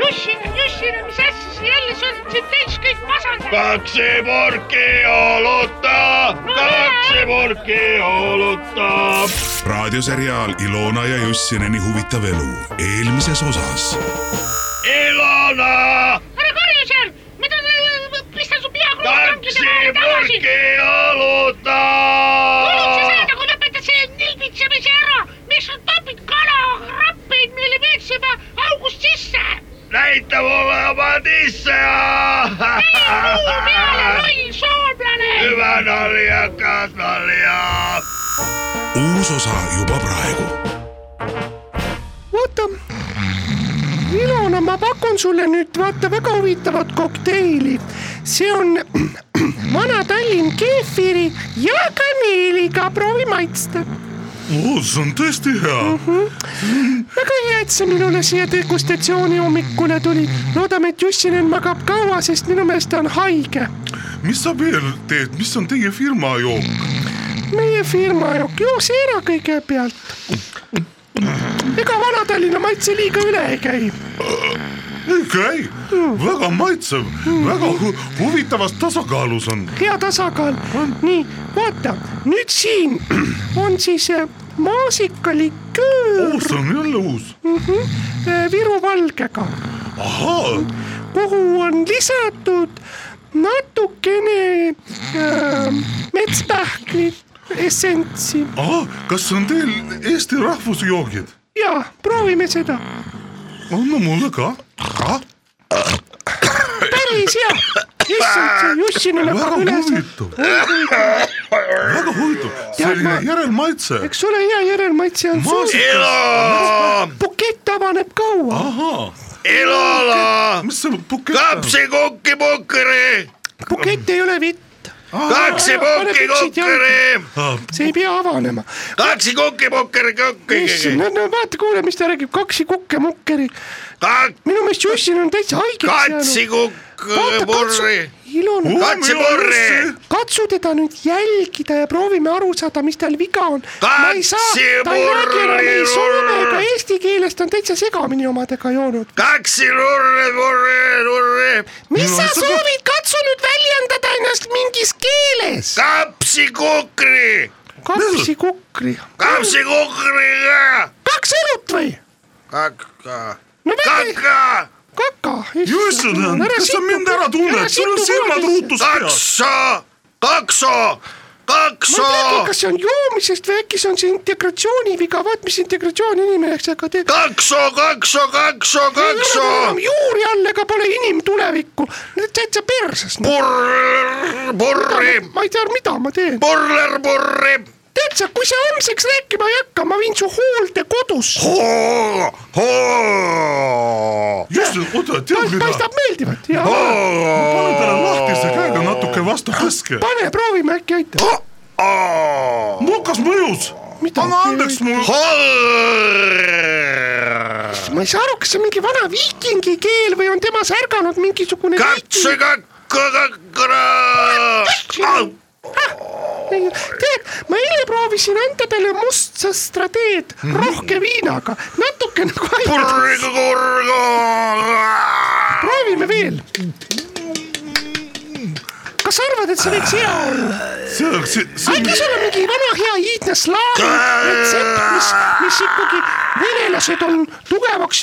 Speaker 5: Jussin , Jussin , mis asja sa jälle , sa oled siin täis kõik masendanud .
Speaker 1: raadioseriaal Ilona ja Jussineni huvitav elu eelmises osas .
Speaker 5: ära karju seal , mida ta , pista su pea kuradi tagasi . kuulid sa seda , kui lõpetad selle nilbitsemise ära , miks sa topid kalakrappeid meile veetsema august sisse ? näita mulle oma tisse . loll soomlane .
Speaker 1: uus osa juba praegu .
Speaker 3: vaata , Ilona , ma pakun sulle nüüd vaata väga huvitavat kokteili . see on *clears throat* Vana-Tallinn keefiri ja kaneeliga , proovi maitsta . Mhm.
Speaker 4: oo , see on tõesti hea .
Speaker 3: väga hea , et sa minule siia degustatsiooni hommikule tulid . loodame , et Jussinen magab kaua , sest minu meelest ta on haige .
Speaker 4: mis sa veel teed , mis on teie firma jook ?
Speaker 3: meie firma jook , joo seera kõigepealt . ega Vana-Tallinna maitse liiga üle ei käi .
Speaker 4: ei käi ,
Speaker 3: Mhm.
Speaker 4: väga maitsev , väga hu huvitavas tasakaalus on .
Speaker 3: hea tasakaal . nii , vaata nüüd siin *clears throat* on siis äh,
Speaker 4: oo ,
Speaker 3: maasikaliköör
Speaker 4: see on jälle uus .
Speaker 3: äh, Viru valgega ,
Speaker 4: ahaa ,
Speaker 3: kuhu on lisatud natukene äh, metspähkli essentsi
Speaker 4: ahah , kas see on teil Eesti rahvusjoogid ?
Speaker 3: ja proovime seda ,
Speaker 4: anna mulle ka . kah ,
Speaker 3: päris hea . issand , see Jussinen
Speaker 4: väga
Speaker 3: hakkab üles ,
Speaker 4: huvitav . väga huvitav , selline
Speaker 3: ma-
Speaker 4: järelmaitse .
Speaker 3: eks ole hea järelmaitse on suur ,
Speaker 2: Elo ,
Speaker 3: bukett avaneb kaua .
Speaker 4: ahaa ,
Speaker 2: Elola ,
Speaker 4: mis see bukett on ?
Speaker 2: kapsikukki pukkeri ,
Speaker 3: bukett ei ole vitt ,
Speaker 2: kapsikukki pukkeri ,
Speaker 3: see ei pea avanema
Speaker 2: kapsikukki pukkeri ,
Speaker 3: issand ,
Speaker 2: kukkeri ,
Speaker 3: no no vaata , kuule , mis ta räägib , kaksi kukke-mukkeri . minu meelest Jussin on täitsa haigeks
Speaker 2: katsikukk ,
Speaker 3: Vaata, katsu-
Speaker 2: purri ,
Speaker 3: Ilona ,
Speaker 2: katsipurri ,
Speaker 3: katsu teda nüüd jälgida ja proovime aru saada , mis tal viga on . ma ei saa , ta ei räägi enam ei soome ega eesti keelest , ta on täitsa segamini omadega joonud .
Speaker 2: kaksilurri , purri , lurri ,
Speaker 3: mis sa soovid , katsu nüüd väljendada ennast mingis keeles .
Speaker 2: kapsikukri ,
Speaker 3: kapsi kukri ,
Speaker 2: kapsikukriga ,
Speaker 3: kaks õlut või ?
Speaker 2: kakka ,
Speaker 3: no väga ,
Speaker 2: kakka ,
Speaker 3: kaka .
Speaker 4: Jussunen , kas sa mind ära tunned , sul on silmad ruutus peas .
Speaker 2: kakso , kakso ,
Speaker 3: ma ei teagi ,
Speaker 2: kakso ,
Speaker 3: kas see on joomisest või äkki see on see integratsiooni viga , vaat mis integratsioon inimesega teeb .
Speaker 2: kakso , kakso , kakso , kakso ,
Speaker 3: juuri all ega pole inimtulevikku , nüüd täitsa perses .
Speaker 2: purr , purri ,
Speaker 3: ma ei tea , mida ma teen .
Speaker 2: purler , purri ,
Speaker 3: tead sa , kui sa homseks rääkima ei hakka , ma viin su hooldekodusse .
Speaker 2: hoo , hoo ,
Speaker 4: just , oota , tead mida ?
Speaker 3: paistab meeldivat ja
Speaker 4: pane talle lahtise käega natuke vastu tõske .
Speaker 3: pane , proovime äkki aitab .
Speaker 4: mokas mõjus .
Speaker 3: Mida?
Speaker 4: anna andeks mu .
Speaker 2: hol ,
Speaker 3: ma ei saa aru , kas see on mingi vana viikingi keel või on temas ärganud mingisugune .
Speaker 2: katse ,
Speaker 4: Ah!
Speaker 2: kakka ,
Speaker 3: Ah! tead , ma eile proovisin anda talle musta strateed
Speaker 4: Mhm.
Speaker 3: rohke viinaga , natuke nagu aitas .
Speaker 2: purgu , kurgu .
Speaker 3: proovime veel . kas sa arvad , et see võiks hea olla ?
Speaker 4: see on , see ,
Speaker 3: äkki
Speaker 4: see
Speaker 3: sul on mingi vana hea iidne slaavi retsept , mis , mis ikkagi venelased on tugevaks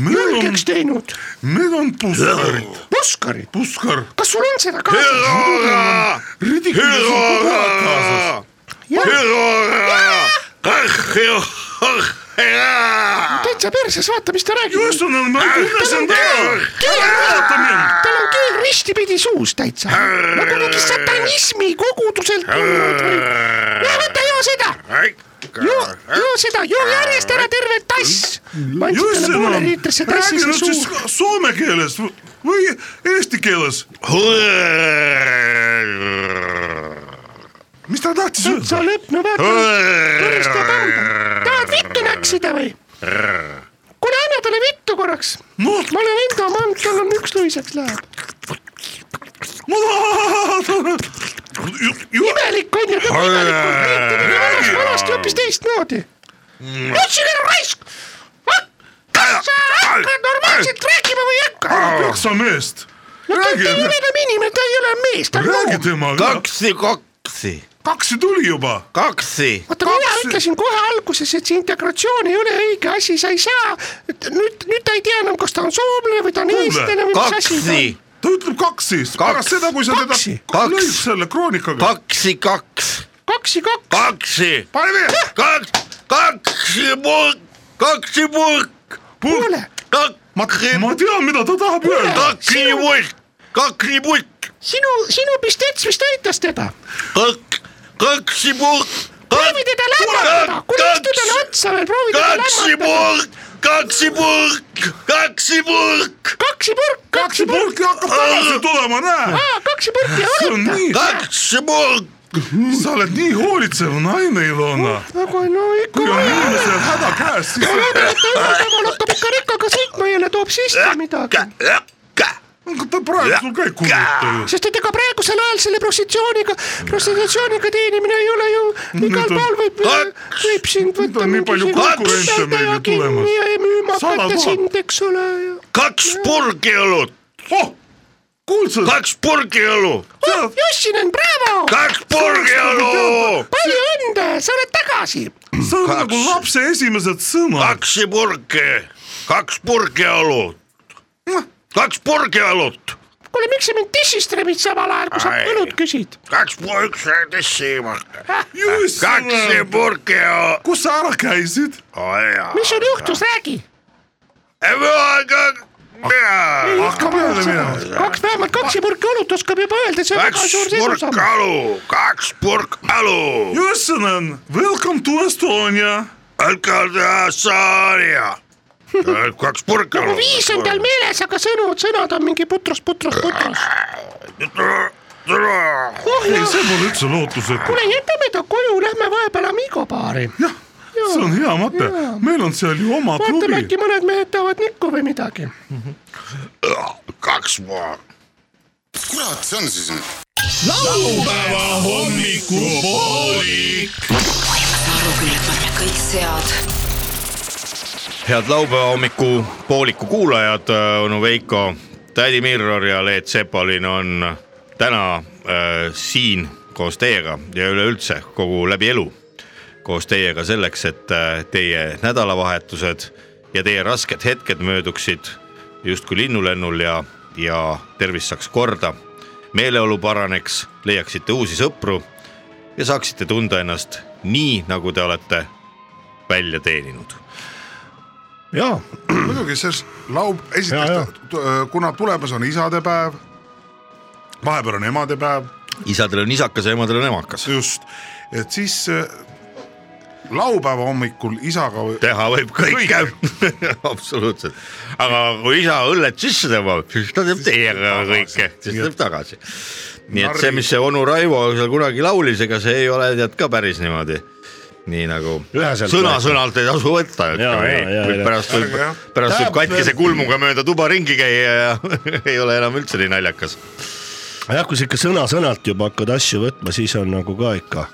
Speaker 3: julgeks teinud .
Speaker 4: Need on puskarid ,
Speaker 3: Puskarid ,
Speaker 4: puskar .
Speaker 3: kas sul on seda kaasas ?
Speaker 4: ridikulis on kogu aeg kaasas .
Speaker 3: täitsa perses , vaata , mis ta räägib .
Speaker 4: just on , ma ei tunne sind
Speaker 3: keel
Speaker 4: Vaata mind.
Speaker 3: tal on keel ristipidi suus täitsa . nagu mingi satanismi koguduselt tulnud või . ja võta joo seda , joo , joo seda , joo järjest ära terve tass . ma andsin talle poole liitrisse tassi ,
Speaker 4: räägi
Speaker 3: see
Speaker 4: nüüd siis
Speaker 3: suur .
Speaker 4: soome keeles v- või eesti keeles , mis ta tahtis
Speaker 3: sa
Speaker 4: öelda ?
Speaker 3: lõpp , no vaata , päris ta tahab . tahad vittu näksida või ? kuule , anna talle vittu korraks .
Speaker 4: noh ,
Speaker 3: ma olen enda mand , tal on üks luiseks läheb . imelik on ju , ta on imelik , vanasti hoopis teistmoodi .
Speaker 4: Mm.
Speaker 3: otsige raisk , sa hakkad normaalselt rääkima või ei hakka ?
Speaker 4: peksa meest ,
Speaker 3: no ta
Speaker 4: räägi-
Speaker 3: inimene on inimene , ta ei ole mees , ta on
Speaker 4: räägi
Speaker 3: loom .
Speaker 4: temaga ,
Speaker 2: kaksi , kaksi ,
Speaker 4: kaks tuli juba ,
Speaker 2: kaksi ,
Speaker 3: vaata , mina
Speaker 4: Kaks-
Speaker 3: ütlesin kohe alguses , et see integratsioon ei ole õige asi , sa ei saa , nüüd , nüüd ta ei tea enam , kas ta on soomlane või ta on
Speaker 4: Kuule,
Speaker 3: eestlane või mis asi ta
Speaker 2: kaksi
Speaker 3: on .,
Speaker 4: ta ütleb kaks siis ,
Speaker 2: Kaks.
Speaker 4: pärast seda , kui sa teda
Speaker 3: Kaksi.
Speaker 2: Kaks.
Speaker 4: lõid selle kroonikaga ,
Speaker 2: kaksi , kaks ,
Speaker 3: kaksi , kaks ,
Speaker 2: kaksi ,
Speaker 4: pane veel ,
Speaker 2: kaks , kaksi purk , kaksi purk ,
Speaker 3: kuule ,
Speaker 2: kaksi ,
Speaker 4: ma tean , mida ta tahab öelda ,
Speaker 2: kaksi purk , kaksi purk ,
Speaker 3: sinu , sinu pistets vist aitas teda .
Speaker 2: kak- , kaksi purk ,
Speaker 3: proovi teda lämmatada , kuule , istu talle otsa veel , proovi teda
Speaker 2: kaksi
Speaker 3: lämmatada .
Speaker 2: purk , kaksi purk , kaksi purk ,
Speaker 3: kaksi purk ,
Speaker 4: kaks
Speaker 3: kaksi purk ,
Speaker 4: purki hakkab tagasi tulema , näe ,
Speaker 3: kaksi purki ,
Speaker 4: see on
Speaker 3: oleta .
Speaker 4: nii ,
Speaker 2: kaksi purk ,
Speaker 4: sa oled nii hoolitsev naine , Ilona ,
Speaker 3: nagu no ikka
Speaker 4: kui . on inimesel häda käes , siis sa
Speaker 3: tänapäeval hakkab ikka rekkaga sõitma jälle , toob sisse midagi .
Speaker 4: aga ta praegu sul ka ei kuluta ju .
Speaker 3: sest et ega praegusel ajal selle prostitutsiooniga , prostitutsiooniga teenimine ei ole ju igal
Speaker 4: Nüüd on-
Speaker 3: pool võib ,
Speaker 2: Kaks!
Speaker 3: võib sind võtta .
Speaker 4: on nii palju konkurente meile tulemas.
Speaker 3: ja ja müüma
Speaker 4: Sada
Speaker 3: hakata
Speaker 4: tuhat.
Speaker 3: sind , eks ole .
Speaker 2: kaks purki õlut ,
Speaker 4: oh , kuulsid ,
Speaker 2: kaks purki õlu ,
Speaker 3: Jossinen , braavo ,
Speaker 2: kaks purki õlu ,
Speaker 3: palju õnne , sa oled tagasi .
Speaker 4: see on nagu lapse esimesed sõnad .
Speaker 2: kaksi purki , kaks purki õlut , kaks purki õlut ,
Speaker 3: kuule , miks sa mind dissistremid samal ajal , kui sa
Speaker 2: Ai.
Speaker 3: õlut küsid ?
Speaker 2: kaks purki , üks siimak , kaksi
Speaker 4: just ,
Speaker 2: purki õlut ,
Speaker 4: kus sa ära käisid ?
Speaker 2: oi jaa .
Speaker 3: mis sul juhtus , räägi .
Speaker 4: hakka peale minema .
Speaker 3: kaks , vähemalt kaks ja purki õlut oskab juba öelda , see on väga
Speaker 2: kaks
Speaker 3: suur
Speaker 2: purk
Speaker 3: edusamm .
Speaker 2: alu , kaks purk alu ,
Speaker 4: Jussinen , welcome to Estonia .
Speaker 2: Alcatrazania , *laughs* kaks purk alu .
Speaker 3: Nagu viis on tal meeles , aga sõnud , sõnad on mingi putros , putros , putros . oh
Speaker 4: ei ,
Speaker 3: jah ,
Speaker 4: see pole üldse lootusetu .
Speaker 3: kuule jätame ta koju , lähme vahepeal Amigo baari .
Speaker 4: jah , see on hea mõte , meil on seal ju oma
Speaker 3: vaatame ,
Speaker 4: klubi .
Speaker 3: äkki mõned mehed tahavad nikku või midagi .
Speaker 2: kaks purk ,
Speaker 8: kurat , see on siis nüüd ?
Speaker 10: laupäeva hommikupoolik .
Speaker 5: kõik sead .
Speaker 2: head laupäeva hommiku pooliku kuulajad , onu Veiko , tädi Mirror ja Leet Sepalin on täna äh, siin koos teiega ja üleüldse kogu läbi elu koos teiega selleks , et äh, teie nädalavahetused ja teie rasked hetked mööduksid justkui linnulennul ja , ja tervis saaks korda , meeleolu paraneks , leiaksite uusi sõpru ja saaksite tunda ennast nii , nagu te olete välja teeninud
Speaker 3: jaa ,
Speaker 4: muidugi , sest laul ,
Speaker 3: Jaa,
Speaker 4: esiteks ,
Speaker 8: äh,
Speaker 4: kuna tulemas on isadepäev , vahepeal on emadepäev
Speaker 2: isadel on isakas ja emadel on emakas .
Speaker 4: just , et siis äh, laupäeva hommikul isaga või...
Speaker 2: teha võib kõike , *laughs* absoluutselt . aga kui isa õllet sisse tõmbab , siis ta teeb teiega kõike , siis ta teeb tagasi . nii et see , mis see onu Raivo seal kunagi laulis , ega see ei ole tead ka päris niimoodi . nii nagu
Speaker 3: Üheselt
Speaker 2: sõna-sõnalt ei tasu võtta ,
Speaker 3: Jaa, jaa, jaa,
Speaker 2: ütleme nii
Speaker 3: jaa. .
Speaker 2: pärast võib
Speaker 4: Ärge jah. ,
Speaker 2: pärast võib katkise kulmuga mööda tuba ringi käia ja *laughs* ei ole enam üldse nii naljakas .
Speaker 3: jah , kui sa ikka sõna-sõnalt juba hakkad asju võtma , siis on nagu ka ikka ,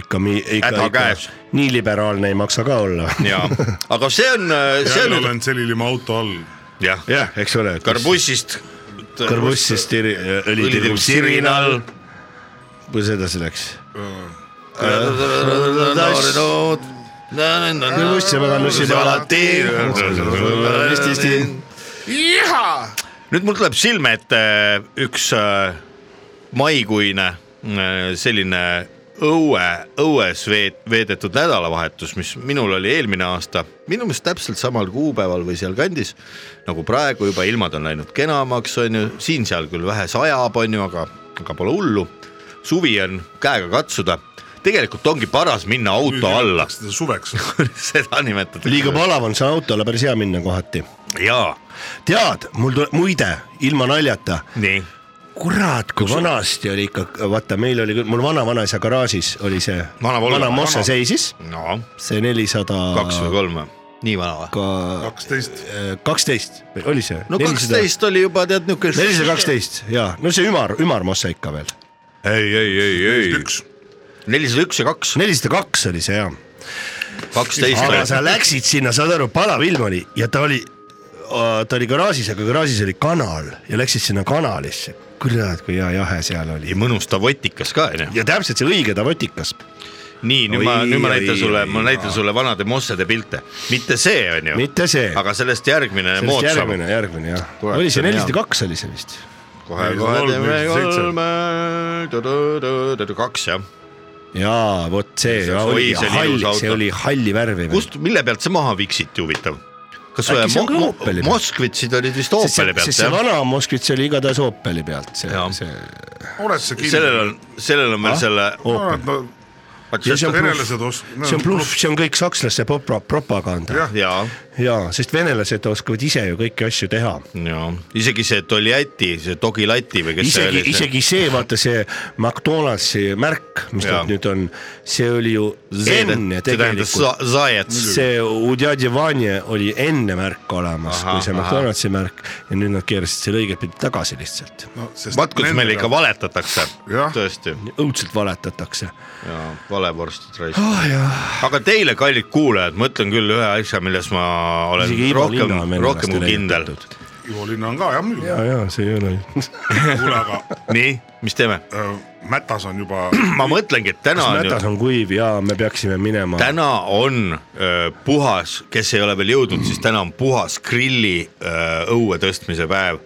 Speaker 3: ikka ,
Speaker 2: Häda käes.
Speaker 3: nii liberaalne ei maksa ka olla .
Speaker 2: ja , aga see on , see
Speaker 4: jälle
Speaker 2: on nüüd
Speaker 4: olen selilima auto all .
Speaker 2: jah ,
Speaker 3: jah , eks ole .
Speaker 2: karbussist .
Speaker 3: karbussist tiri- õli
Speaker 2: õlitirub
Speaker 3: tirgus
Speaker 2: sirinal
Speaker 3: kuidas edasi läks ?
Speaker 8: iha .
Speaker 2: nüüd mul tuleb silme ette üks äh, maikuine äh, selline õue , õues veet- , veedetud nädalavahetus , mis minul oli eelmine aasta , minu meelest täpselt samal kuupäeval või sealkandis nagu praegu juba ilmad on läinud kenamaks , on ju , siin-seal küll vähe sajab , on ju , aga , aga pole hullu . suvi on käega katsuda , tegelikult ongi paras minna auto alla ,
Speaker 8: seda
Speaker 2: *laughs*
Speaker 8: suveks .
Speaker 2: seda nimetatakse .
Speaker 1: liiga palav on , seal autole päris hea minna kohati .
Speaker 2: jaa ,
Speaker 1: tead , mul tuleb , muide , ilma naljata ,
Speaker 2: nii ,
Speaker 1: kurat , kui vanasti oli ikka , vaata , meil oli küll , mul vanavanaisa garaažis oli see
Speaker 2: Vana Volvo.
Speaker 1: vana Mosse
Speaker 2: Vana.
Speaker 1: seisis ,
Speaker 2: no
Speaker 1: see nelisada
Speaker 2: kaks või kolm või , nii vana või ?
Speaker 1: kolm ,
Speaker 8: kaksteist .
Speaker 1: kaksteist oli see .
Speaker 2: no kaksteist oli juba tead niuke .
Speaker 1: nelisada kaksteist ja no see ümar , ümar Mosse ikka veel ,
Speaker 2: ei , ei , ei , ei .
Speaker 8: üks .
Speaker 2: nelisada üks ja kaks ,
Speaker 1: nelisada kaks oli see jah
Speaker 2: kaksteist
Speaker 1: aga sa
Speaker 2: oli .
Speaker 1: läksid sinna , saad aru , palav ilm oli ja ta oli , ta oli garaažis , aga garaažis oli kanal ja läksid sinna kanalisse . kurat , kui hea jahe seal oli .
Speaker 2: ja mõnus tavotikas ka onju .
Speaker 1: ja täpselt see õige tavotikas .
Speaker 2: nii , nüüd ma ,
Speaker 1: Oi,
Speaker 2: nüüd ma
Speaker 1: oi,
Speaker 2: näitan sulle , ma
Speaker 1: oi,
Speaker 2: näitan
Speaker 1: jaa.
Speaker 2: sulle vanade mossede pilte , mitte see onju .
Speaker 1: Mitte see.
Speaker 2: aga sellest järgmine , moodsam .
Speaker 1: järgmine , järgmine jah .
Speaker 2: Kurat,
Speaker 1: oli
Speaker 2: see
Speaker 1: see
Speaker 2: on hea.
Speaker 1: nelisada kaks oli see vist .
Speaker 2: kohe , kohe
Speaker 8: 403,
Speaker 2: teeme
Speaker 8: 407.
Speaker 2: kolme , kaks jah .
Speaker 1: jaa , vot see,
Speaker 2: See
Speaker 1: see
Speaker 2: oli-
Speaker 1: oli
Speaker 2: see oli ilus
Speaker 1: halli ,
Speaker 2: auto.
Speaker 1: see oli halli värvi .
Speaker 2: kust , mille pealt see maha viksiti huvitav ? kas
Speaker 1: Äkki see on ka
Speaker 2: mo- mo-
Speaker 1: Opeli peal?
Speaker 2: Moskvitsid olid vist Opeli pealt
Speaker 1: see
Speaker 2: jah ?
Speaker 1: vana Moskvitš oli igatahes Opeli pealt , see
Speaker 2: Jaa. ,
Speaker 1: see . Ah.
Speaker 8: oled sa
Speaker 2: sellel
Speaker 8: kindel ?
Speaker 2: on , sellel on veel selle .
Speaker 1: Opel , Ja see Oh. on
Speaker 8: venelased oskavad .
Speaker 1: see on bluff , see on kõik sakslaste popa- propaganda
Speaker 8: Jah.
Speaker 1: ja,
Speaker 2: jaa
Speaker 1: ja , sest venelased oskavad ise ju kõiki asju teha
Speaker 2: ja isegi see Toljati , see Togi Lati või kes see
Speaker 1: isegi
Speaker 2: oli ,?
Speaker 1: isegi see , vaata see McDonaldsi märk , mis
Speaker 2: Jaa.
Speaker 1: tal nüüd on , see oli ju enne tegelikult ,
Speaker 2: Zajats .
Speaker 1: see Udjadje Vanje oli enne märk olemas ,
Speaker 2: Ahah,
Speaker 1: kui see
Speaker 2: ahah.
Speaker 1: McDonaldsi märk ja nüüd nad keerasid selle õiget pidi tagasi lihtsalt .
Speaker 2: vaat kus meil ikka . valetatakse
Speaker 8: Jah. ,
Speaker 2: tõesti ,
Speaker 1: õudselt valetatakse .
Speaker 2: valevorstid
Speaker 1: Ah,
Speaker 2: raiskavad oh, . aga teile , kallid kuulajad , ma ütlen küll ühe asja , milles ma olen
Speaker 1: Isegi Ivo
Speaker 2: rohkem
Speaker 1: Linna on , venelastele
Speaker 2: rohkem kui kindel .
Speaker 8: Ivo Linna on ka jah muidugi .
Speaker 1: ja , ja see ei ole .
Speaker 8: kuule , aga
Speaker 2: nii , mis teeme ?
Speaker 8: äh, Mätas on
Speaker 1: *clears throat*
Speaker 8: juba
Speaker 2: ma mõtlengi , et täna on ju
Speaker 1: mätas on kuiv ja me peaksime minema .
Speaker 2: täna on öö, puhas , kes ei ole veel jõudnud , siis täna on puhas grilli öö, õue tõstmise päev .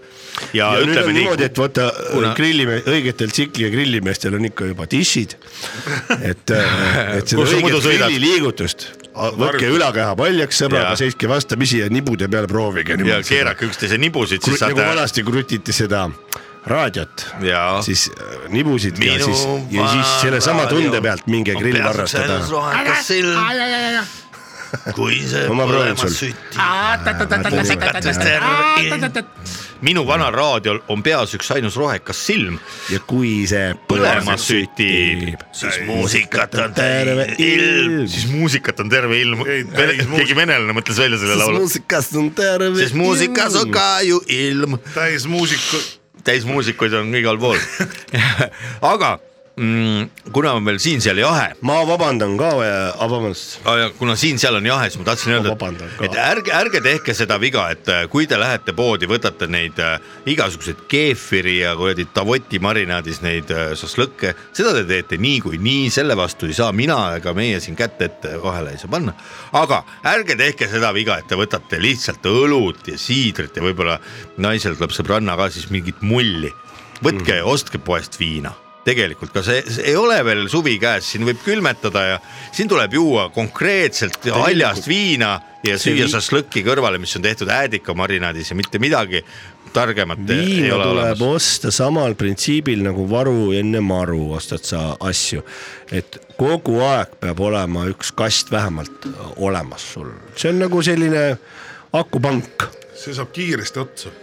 Speaker 2: ja,
Speaker 1: ja nüüd
Speaker 2: ja
Speaker 1: on
Speaker 2: ütleme
Speaker 1: niimoodi ,
Speaker 2: nii
Speaker 1: et , vaata
Speaker 2: kuna-
Speaker 1: kuna... grillime- , õigetel tsikli ja grillimeestel on ikka juba dissid . et ,
Speaker 2: *laughs*
Speaker 1: et seda
Speaker 2: Kus sa muidu
Speaker 1: õiget
Speaker 2: sõidad?
Speaker 1: grilliliigutust , võtke ülakeha paljaks sõbraga
Speaker 2: Jaa. ,
Speaker 1: seiske vastamisi ja nibude peal proovige
Speaker 2: ja
Speaker 1: niimoodi .
Speaker 2: keerake üksteise nibusid , siis
Speaker 1: nagu
Speaker 2: saate
Speaker 1: vanasti krutiti seda raadiot ,
Speaker 2: Jaa.
Speaker 1: siis äh, nibusid ja siis , ja siis sellesama tunde pealt minge grill varrastada .
Speaker 2: rohekas silm , kui see
Speaker 1: Ma proovin sul.
Speaker 2: süti . minu vanal raadiol on peas üks ainus rohekas silm ,
Speaker 1: ja kui see
Speaker 2: põlema sütib , siis muusikat on terve ilm , siis muusikat on terve ilm . keegi venelane mõtles välja selle
Speaker 1: siis
Speaker 2: laulu .
Speaker 1: muusikas on terve .
Speaker 2: siis muusikas on ka ju ilm ,
Speaker 8: täis muusika .
Speaker 2: täismuusikuid on igal pool . *laughs* aga mm, kuna on veel siin-seal jahe
Speaker 1: ma vabandan ka , vabandust .
Speaker 2: Ah, ja kuna siin-seal on jahe , siis ma tahtsin öelda ,
Speaker 1: vabandan
Speaker 2: et
Speaker 1: ka.
Speaker 2: et ärge , ärge tehke seda viga , et äh, kui te lähete poodi , võtate neid äh, igasuguseid keefiri ja kuradi Davoti marinaadis neid äh, šašlõkke , seda te teete niikuinii , selle vastu ei saa mina ega meie siin kätt ette vahele ei saa panna . aga ärge tehke seda viga , et te võtate lihtsalt õlut ja siidrit ja võib-olla naisel tuleb sõbranna ka siis mingit mulli . võtke mm. , ostke poest viina tegelikult ka see, see ei ole veel suvi käes , siin võib külmetada ja siin tuleb juua konkreetselt haljast viina ja
Speaker 1: See
Speaker 2: süüa
Speaker 1: vi-
Speaker 2: šašlõkki kõrvale , mis on tehtud äädika marinaadis ja mitte midagi targemat ei
Speaker 1: viina
Speaker 2: ole
Speaker 1: tuleb
Speaker 2: olemas .
Speaker 1: osta samal printsiibil nagu varu enne maru ostad sa asju . et kogu aeg peab olema üks kast vähemalt olemas sul , see on nagu selline akupank .
Speaker 8: see saab kiiresti otsa .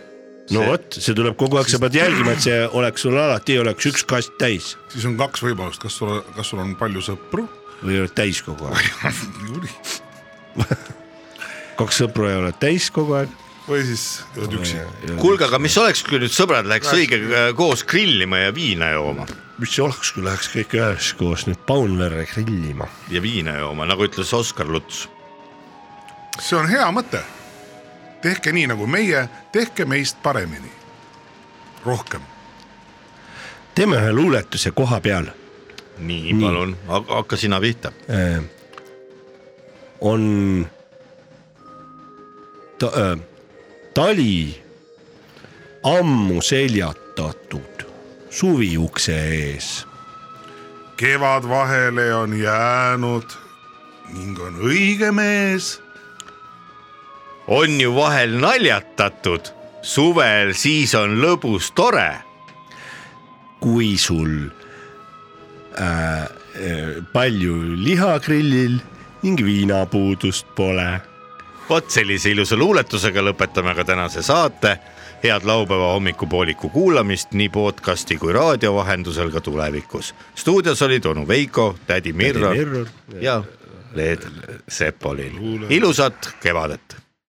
Speaker 1: no
Speaker 2: See-
Speaker 1: vot , see tuleb kogu aeg , sa pead jälgima , et see oleks sul alati oleks üks kast täis
Speaker 8: siis on kaks võimalust , kas sul , kas sul on palju sõpru
Speaker 1: või oled täis kogu aeg . kaks sõpru ja oled täis kogu aeg .
Speaker 8: või siis oled üksi ?
Speaker 2: kuulge , aga mis oleks , kui nüüd sõbrad läheks õigega koos grillima ja viina jooma
Speaker 1: mis see oleks , kui läheks kõik üheskoos nüüd Paunverre grillima ?
Speaker 2: ja viina jooma , nagu ütles Oskar Luts .
Speaker 8: see on hea mõte . tehke nii nagu meie , tehke meist paremini . rohkem .
Speaker 1: teeme ühe luuletuse koha peal
Speaker 2: nii , palun , hakka sina pihta .
Speaker 1: Äh, on ta, äh, tali ammu seljatatud suvi ukse ees
Speaker 3: kevad vahele on jäänud ning on õige mees
Speaker 2: on ju vahel naljatatud , suvel siis on lõbus tore .
Speaker 1: kui sul äh, äh, palju liha grillil ning viinapuudust pole .
Speaker 2: vot sellise ilusa luuletusega lõpetame ka tänase saate . head laupäeva hommikupooliku kuulamist nii podcasti kui raadio vahendusel ka tulevikus . stuudios olid onu Veiko , tädi Mirro
Speaker 1: Mirro
Speaker 2: ja Leed Sepolin . ilusat kevadet